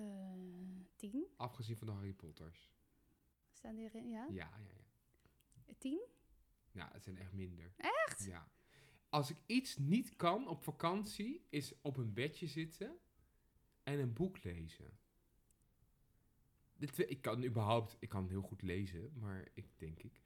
[SPEAKER 2] tien?
[SPEAKER 3] Afgezien van de Harry Potters.
[SPEAKER 2] Staan die erin? Ja.
[SPEAKER 3] Ja, ja, ja.
[SPEAKER 2] Tien?
[SPEAKER 3] Ja, het zijn echt minder. Echt? Ja. Als ik iets niet kan op vakantie, is op een bedje zitten en een boek lezen. De twee, ik kan überhaupt, ik kan heel goed lezen, maar ik denk ik.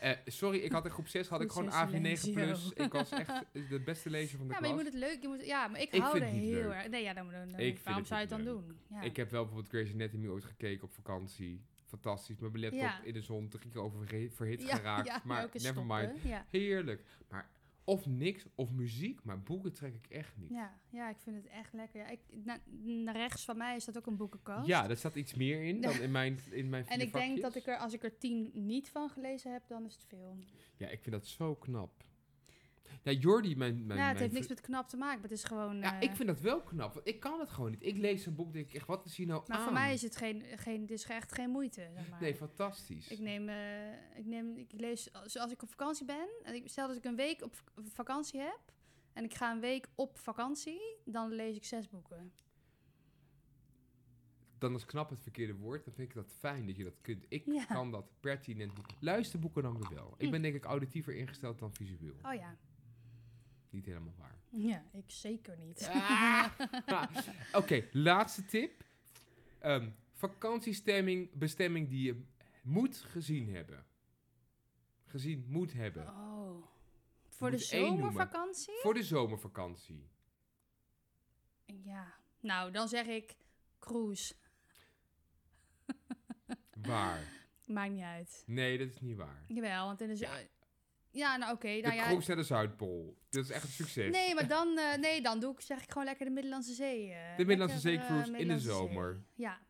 [SPEAKER 3] Eh, sorry, ik had in groep 6 had ik
[SPEAKER 2] Goed
[SPEAKER 3] gewoon
[SPEAKER 2] zo,
[SPEAKER 3] AV9 plus.
[SPEAKER 2] Silencio.
[SPEAKER 3] Ik was echt de beste lezer van de
[SPEAKER 2] Ja, maar
[SPEAKER 3] klas.
[SPEAKER 2] je moet het leuk. Je moet, ja, maar ik,
[SPEAKER 3] Ik
[SPEAKER 2] hou
[SPEAKER 3] vind
[SPEAKER 2] er
[SPEAKER 3] het niet
[SPEAKER 2] heel
[SPEAKER 3] leuk.
[SPEAKER 2] erg. Nee, ja, dan, dan, dan-
[SPEAKER 3] Ik vind
[SPEAKER 2] waarom
[SPEAKER 3] het
[SPEAKER 2] zou je
[SPEAKER 3] niet
[SPEAKER 2] het dan
[SPEAKER 3] leuk.
[SPEAKER 2] doen? Ja.
[SPEAKER 3] Ik heb wel bijvoorbeeld Grey's Anatomy ooit gekeken op vakantie. Fantastisch. Met mijn laptop
[SPEAKER 2] Ja,
[SPEAKER 3] in de zon drie keer over verhe- verhit
[SPEAKER 2] Ja,
[SPEAKER 3] geraakt.
[SPEAKER 2] ja,
[SPEAKER 3] maar
[SPEAKER 2] ook eens
[SPEAKER 3] never mind.
[SPEAKER 2] stoppen. Ja.
[SPEAKER 3] Heerlijk. Maar of niks, of muziek, maar boeken trek ik echt niet.
[SPEAKER 2] Ja, ja, ik vind het echt lekker. Ja, ik, na, naar rechts van mij is dat ook een boekenkast.
[SPEAKER 3] Ja, daar staat iets meer in dan in mijn, in mijn
[SPEAKER 2] en
[SPEAKER 3] vier
[SPEAKER 2] ik denk dat
[SPEAKER 3] vakjes.
[SPEAKER 2] ik er, als ik er tien niet van gelezen heb, dan is het veel.
[SPEAKER 3] Ja, ik vind dat zo knap. Ja, Jordi, mijn... mijn
[SPEAKER 2] nou, het
[SPEAKER 3] mijn
[SPEAKER 2] heeft niks
[SPEAKER 3] vri-
[SPEAKER 2] met knap te maken, maar het is gewoon.
[SPEAKER 3] Ja,
[SPEAKER 2] eh,
[SPEAKER 3] ik vind dat wel knap, want ik kan het gewoon niet. Ik lees een boek, denk ik echt, wat is hier nou
[SPEAKER 2] maar
[SPEAKER 3] aan?
[SPEAKER 2] voor mij is het geen, geen, het is echt geen moeite. Zeg maar.
[SPEAKER 3] Nee, fantastisch.
[SPEAKER 2] Ik neem, eh, ik neem, ik lees, als, als ik op vakantie ben, en ik, stel dat ik een week op vak- vakantie heb en ik ga een week op vakantie, dan lees ik zes boeken.
[SPEAKER 3] Dan is knap het verkeerde woord, dan vind ik dat fijn dat je dat kunt. Ik
[SPEAKER 2] Ja.
[SPEAKER 3] kan dat pertinent doen. Luisterboeken dan weer wel. Ik
[SPEAKER 2] Hm.
[SPEAKER 3] ben denk ik auditiever ingesteld dan visueel.
[SPEAKER 2] Oh ja,
[SPEAKER 3] Niet helemaal waar.
[SPEAKER 2] ja, ik zeker niet.
[SPEAKER 3] Ah. Oké, laatste tip. Ehm, vakantiestemming, bestemming die je moet gezien hebben. Gezien moet hebben.
[SPEAKER 2] Oh, voor de
[SPEAKER 3] moet één noemen.
[SPEAKER 2] zomervakantie?
[SPEAKER 3] Voor de zomervakantie.
[SPEAKER 2] Ja, nou dan zeg ik cruise.
[SPEAKER 3] Waar?
[SPEAKER 2] Maakt niet uit.
[SPEAKER 3] Nee, dat is niet waar.
[SPEAKER 2] Jawel, want in de zo-
[SPEAKER 3] Ja.
[SPEAKER 2] ja, nou oké,
[SPEAKER 3] De
[SPEAKER 2] Dus, eh, nou ja.
[SPEAKER 3] cruise naar de Zuidpool. Dat is echt een succes.
[SPEAKER 2] Nee, maar dan, eh, nee, dan doe ik, zeg ik gewoon lekker de Middellandse Zee. eh,
[SPEAKER 3] Middellandse
[SPEAKER 2] lekker,
[SPEAKER 3] Zeecruise
[SPEAKER 2] eh,
[SPEAKER 3] in de
[SPEAKER 2] Middellandse Zee.
[SPEAKER 3] zomer.
[SPEAKER 2] Ja,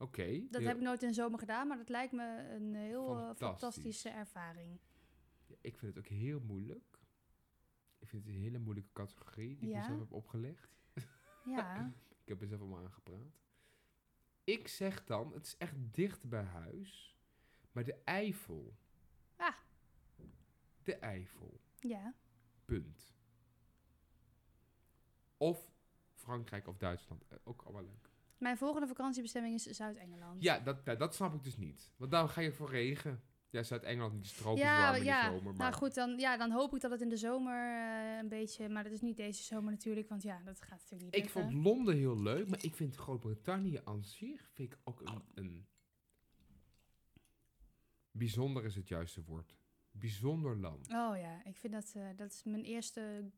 [SPEAKER 3] Oké.
[SPEAKER 2] Dat
[SPEAKER 3] Ja,
[SPEAKER 2] heb ik nooit in de zomer gedaan, maar dat lijkt me een heel eh,
[SPEAKER 3] Fantastisch.
[SPEAKER 2] fantastische ervaring.
[SPEAKER 3] ik vind het ook heel moeilijk. Ik vind het een hele moeilijke categorie die
[SPEAKER 2] Ja?
[SPEAKER 3] ik mezelf heb opgelegd.
[SPEAKER 2] Ja,
[SPEAKER 3] Ik heb mezelf allemaal aangepraat. Ik zeg dan, het is echt dicht bij huis, maar de Eifel.
[SPEAKER 2] Ah.
[SPEAKER 3] De Eifel,
[SPEAKER 2] ja.
[SPEAKER 3] punt. Of Frankrijk of Duitsland, eh, ook allemaal leuk.
[SPEAKER 2] Mijn volgende vakantiebestemming is Zuid-Engeland.
[SPEAKER 3] Ja, dat, dat, dat snap ik dus niet. Want dan ga je voor regen. Ja, Zuid-Engeland niet stroop
[SPEAKER 2] ja,
[SPEAKER 3] warm in de
[SPEAKER 2] ja.
[SPEAKER 3] zomer. Maar
[SPEAKER 2] Nou goed, dan, ja, dan hoop ik dat het in de zomer eh, een beetje... Maar dat is niet deze zomer natuurlijk, want ja, dat gaat natuurlijk niet
[SPEAKER 3] ik
[SPEAKER 2] lukken.
[SPEAKER 3] vond Londen heel leuk, maar ik vind Groot-Brittannië aan zich vind ik ook
[SPEAKER 2] Oh.
[SPEAKER 3] een, een... Bijzonder is het juiste woord. Bijzonder land.
[SPEAKER 2] Oh ja, ik vind dat... eh, dat is mijn eerste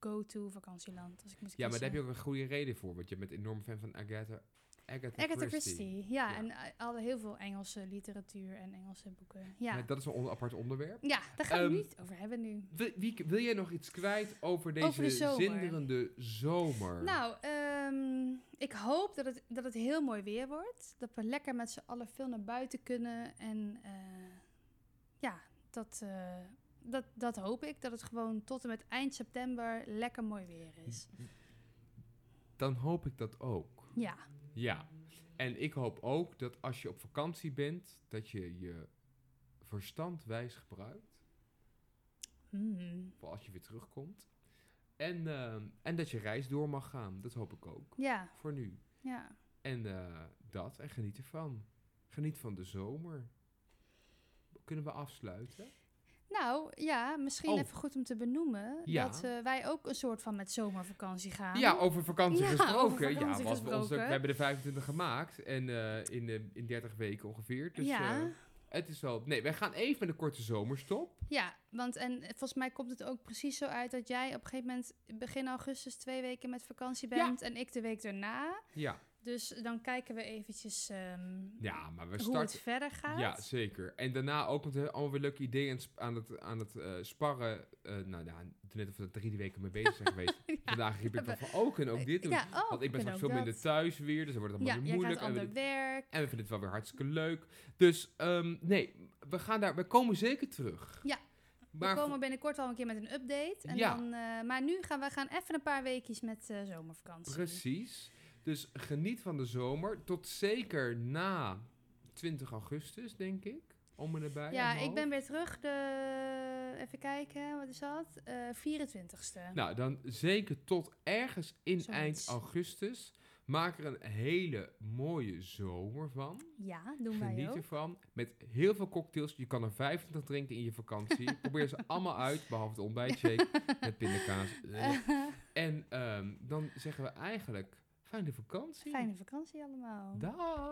[SPEAKER 2] go-to vakantieland. Als ik moet
[SPEAKER 3] Ja, maar
[SPEAKER 2] kiezen.
[SPEAKER 3] daar heb je ook een goede reden voor, want je bent enorm fan van Agatha, Agatha,
[SPEAKER 2] Agatha
[SPEAKER 3] Christie.
[SPEAKER 2] Christie, ja,
[SPEAKER 3] Ja.
[SPEAKER 2] En eh, al heel veel Engelse literatuur en Engelse boeken. Ja,
[SPEAKER 3] Maar dat is een on- apart onderwerp.
[SPEAKER 2] ja daar gaan we
[SPEAKER 3] Ehm,
[SPEAKER 2] het niet over hebben nu.
[SPEAKER 3] Wil, wie- wil jij nog iets kwijt over deze
[SPEAKER 2] Over de zomer.
[SPEAKER 3] zinderende zomer?
[SPEAKER 2] Nou, ehm, ik hoop dat het, dat het heel mooi weer wordt. Dat we lekker met z'n allen veel naar buiten kunnen. En eh, ja, dat, eh, dat, dat hoop ik. Dat het gewoon tot en met eind september lekker mooi weer is.
[SPEAKER 3] Dan hoop ik dat ook.
[SPEAKER 2] Ja,
[SPEAKER 3] Ja. En ik hoop ook dat als je op vakantie bent, dat je je verstand wijs gebruikt.
[SPEAKER 2] Hmm.
[SPEAKER 3] Voor als je weer terugkomt. En, ehm, en dat je reis door mag gaan. Dat hoop ik ook.
[SPEAKER 2] ja,
[SPEAKER 3] Voor nu.
[SPEAKER 2] ja.
[SPEAKER 3] En eh, dat. En geniet ervan. Geniet van de zomer. Kunnen we afsluiten?
[SPEAKER 2] Nou ja, misschien
[SPEAKER 3] Oh.
[SPEAKER 2] even goed om te benoemen
[SPEAKER 3] Ja.
[SPEAKER 2] dat eh, wij ook een soort van met zomervakantie gaan.
[SPEAKER 3] Ja, over vakantie
[SPEAKER 2] Ja, over
[SPEAKER 3] gesproken.
[SPEAKER 2] vakantie
[SPEAKER 3] ja, want we, ons, we
[SPEAKER 2] gesproken.
[SPEAKER 3] hebben de 25 gemaakt. En eh, in, eh, in 30 weken ongeveer. Dus
[SPEAKER 2] ja,
[SPEAKER 3] eh, het is al. Nee, wij gaan even met een korte zomerstop.
[SPEAKER 2] ja, want en eh, volgens mij komt het ook precies zo uit dat jij op een gegeven moment begin augustus twee weken met vakantie
[SPEAKER 3] Ja.
[SPEAKER 2] bent en ik de week daarna.
[SPEAKER 3] Ja,
[SPEAKER 2] Dus dan kijken we eventjes ehm,
[SPEAKER 3] ja maar we
[SPEAKER 2] hoe het
[SPEAKER 3] starten.
[SPEAKER 2] verder gaat.
[SPEAKER 3] Ja, zeker. En daarna ook, want we hebben allemaal weer leuke ideeën aan het sp- aan het, aan het eh, sparren. Eh, nou ja, net of we er drie weken mee bezig zijn geweest. Vandaag riep ik
[SPEAKER 2] we-
[SPEAKER 3] dan van, oh, we kunnen ook dit doen.
[SPEAKER 2] Ja, oh,
[SPEAKER 3] Want ik ben
[SPEAKER 2] kunnen
[SPEAKER 3] straks
[SPEAKER 2] ook
[SPEAKER 3] veel minder
[SPEAKER 2] dat.
[SPEAKER 3] thuis weer, dus dan wordt het
[SPEAKER 2] Ja,
[SPEAKER 3] allemaal
[SPEAKER 2] jij
[SPEAKER 3] weer
[SPEAKER 2] gaat
[SPEAKER 3] moeilijk. En we,
[SPEAKER 2] ander
[SPEAKER 3] dit-
[SPEAKER 2] werk.
[SPEAKER 3] en we vinden het wel weer hartstikke leuk. Dus ehm, nee, we, gaan daar, we komen zeker terug.
[SPEAKER 2] Ja.
[SPEAKER 3] Maar
[SPEAKER 2] we komen binnenkort al een keer met een update. En
[SPEAKER 3] Ja.
[SPEAKER 2] dan, eh, maar nu gaan we gaan even een paar weekjes met eh, zomervakantie.
[SPEAKER 3] Precies. Dus geniet van de zomer. Tot zeker na 20 augustus, denk ik. Om en nabij.
[SPEAKER 2] Ja,
[SPEAKER 3] uit mijn
[SPEAKER 2] ik ben
[SPEAKER 3] hoofd.
[SPEAKER 2] weer terug. De, even kijken, wat is dat? Eh 24ste.
[SPEAKER 3] Nou, dan zeker tot ergens in
[SPEAKER 2] Zoiets.
[SPEAKER 3] eind augustus. Maak er een hele mooie zomer van.
[SPEAKER 2] ja, doen wij
[SPEAKER 3] Geniet
[SPEAKER 2] ook.
[SPEAKER 3] ervan. Met heel veel cocktails. Je kan er 25 drinken in je vakantie. Probeer ze allemaal uit, behalve de ontbijtshake met pindakaas. En ehm, dan zeggen we eigenlijk, fijne vakantie.
[SPEAKER 2] Fijne vakantie allemaal.
[SPEAKER 3] Dag.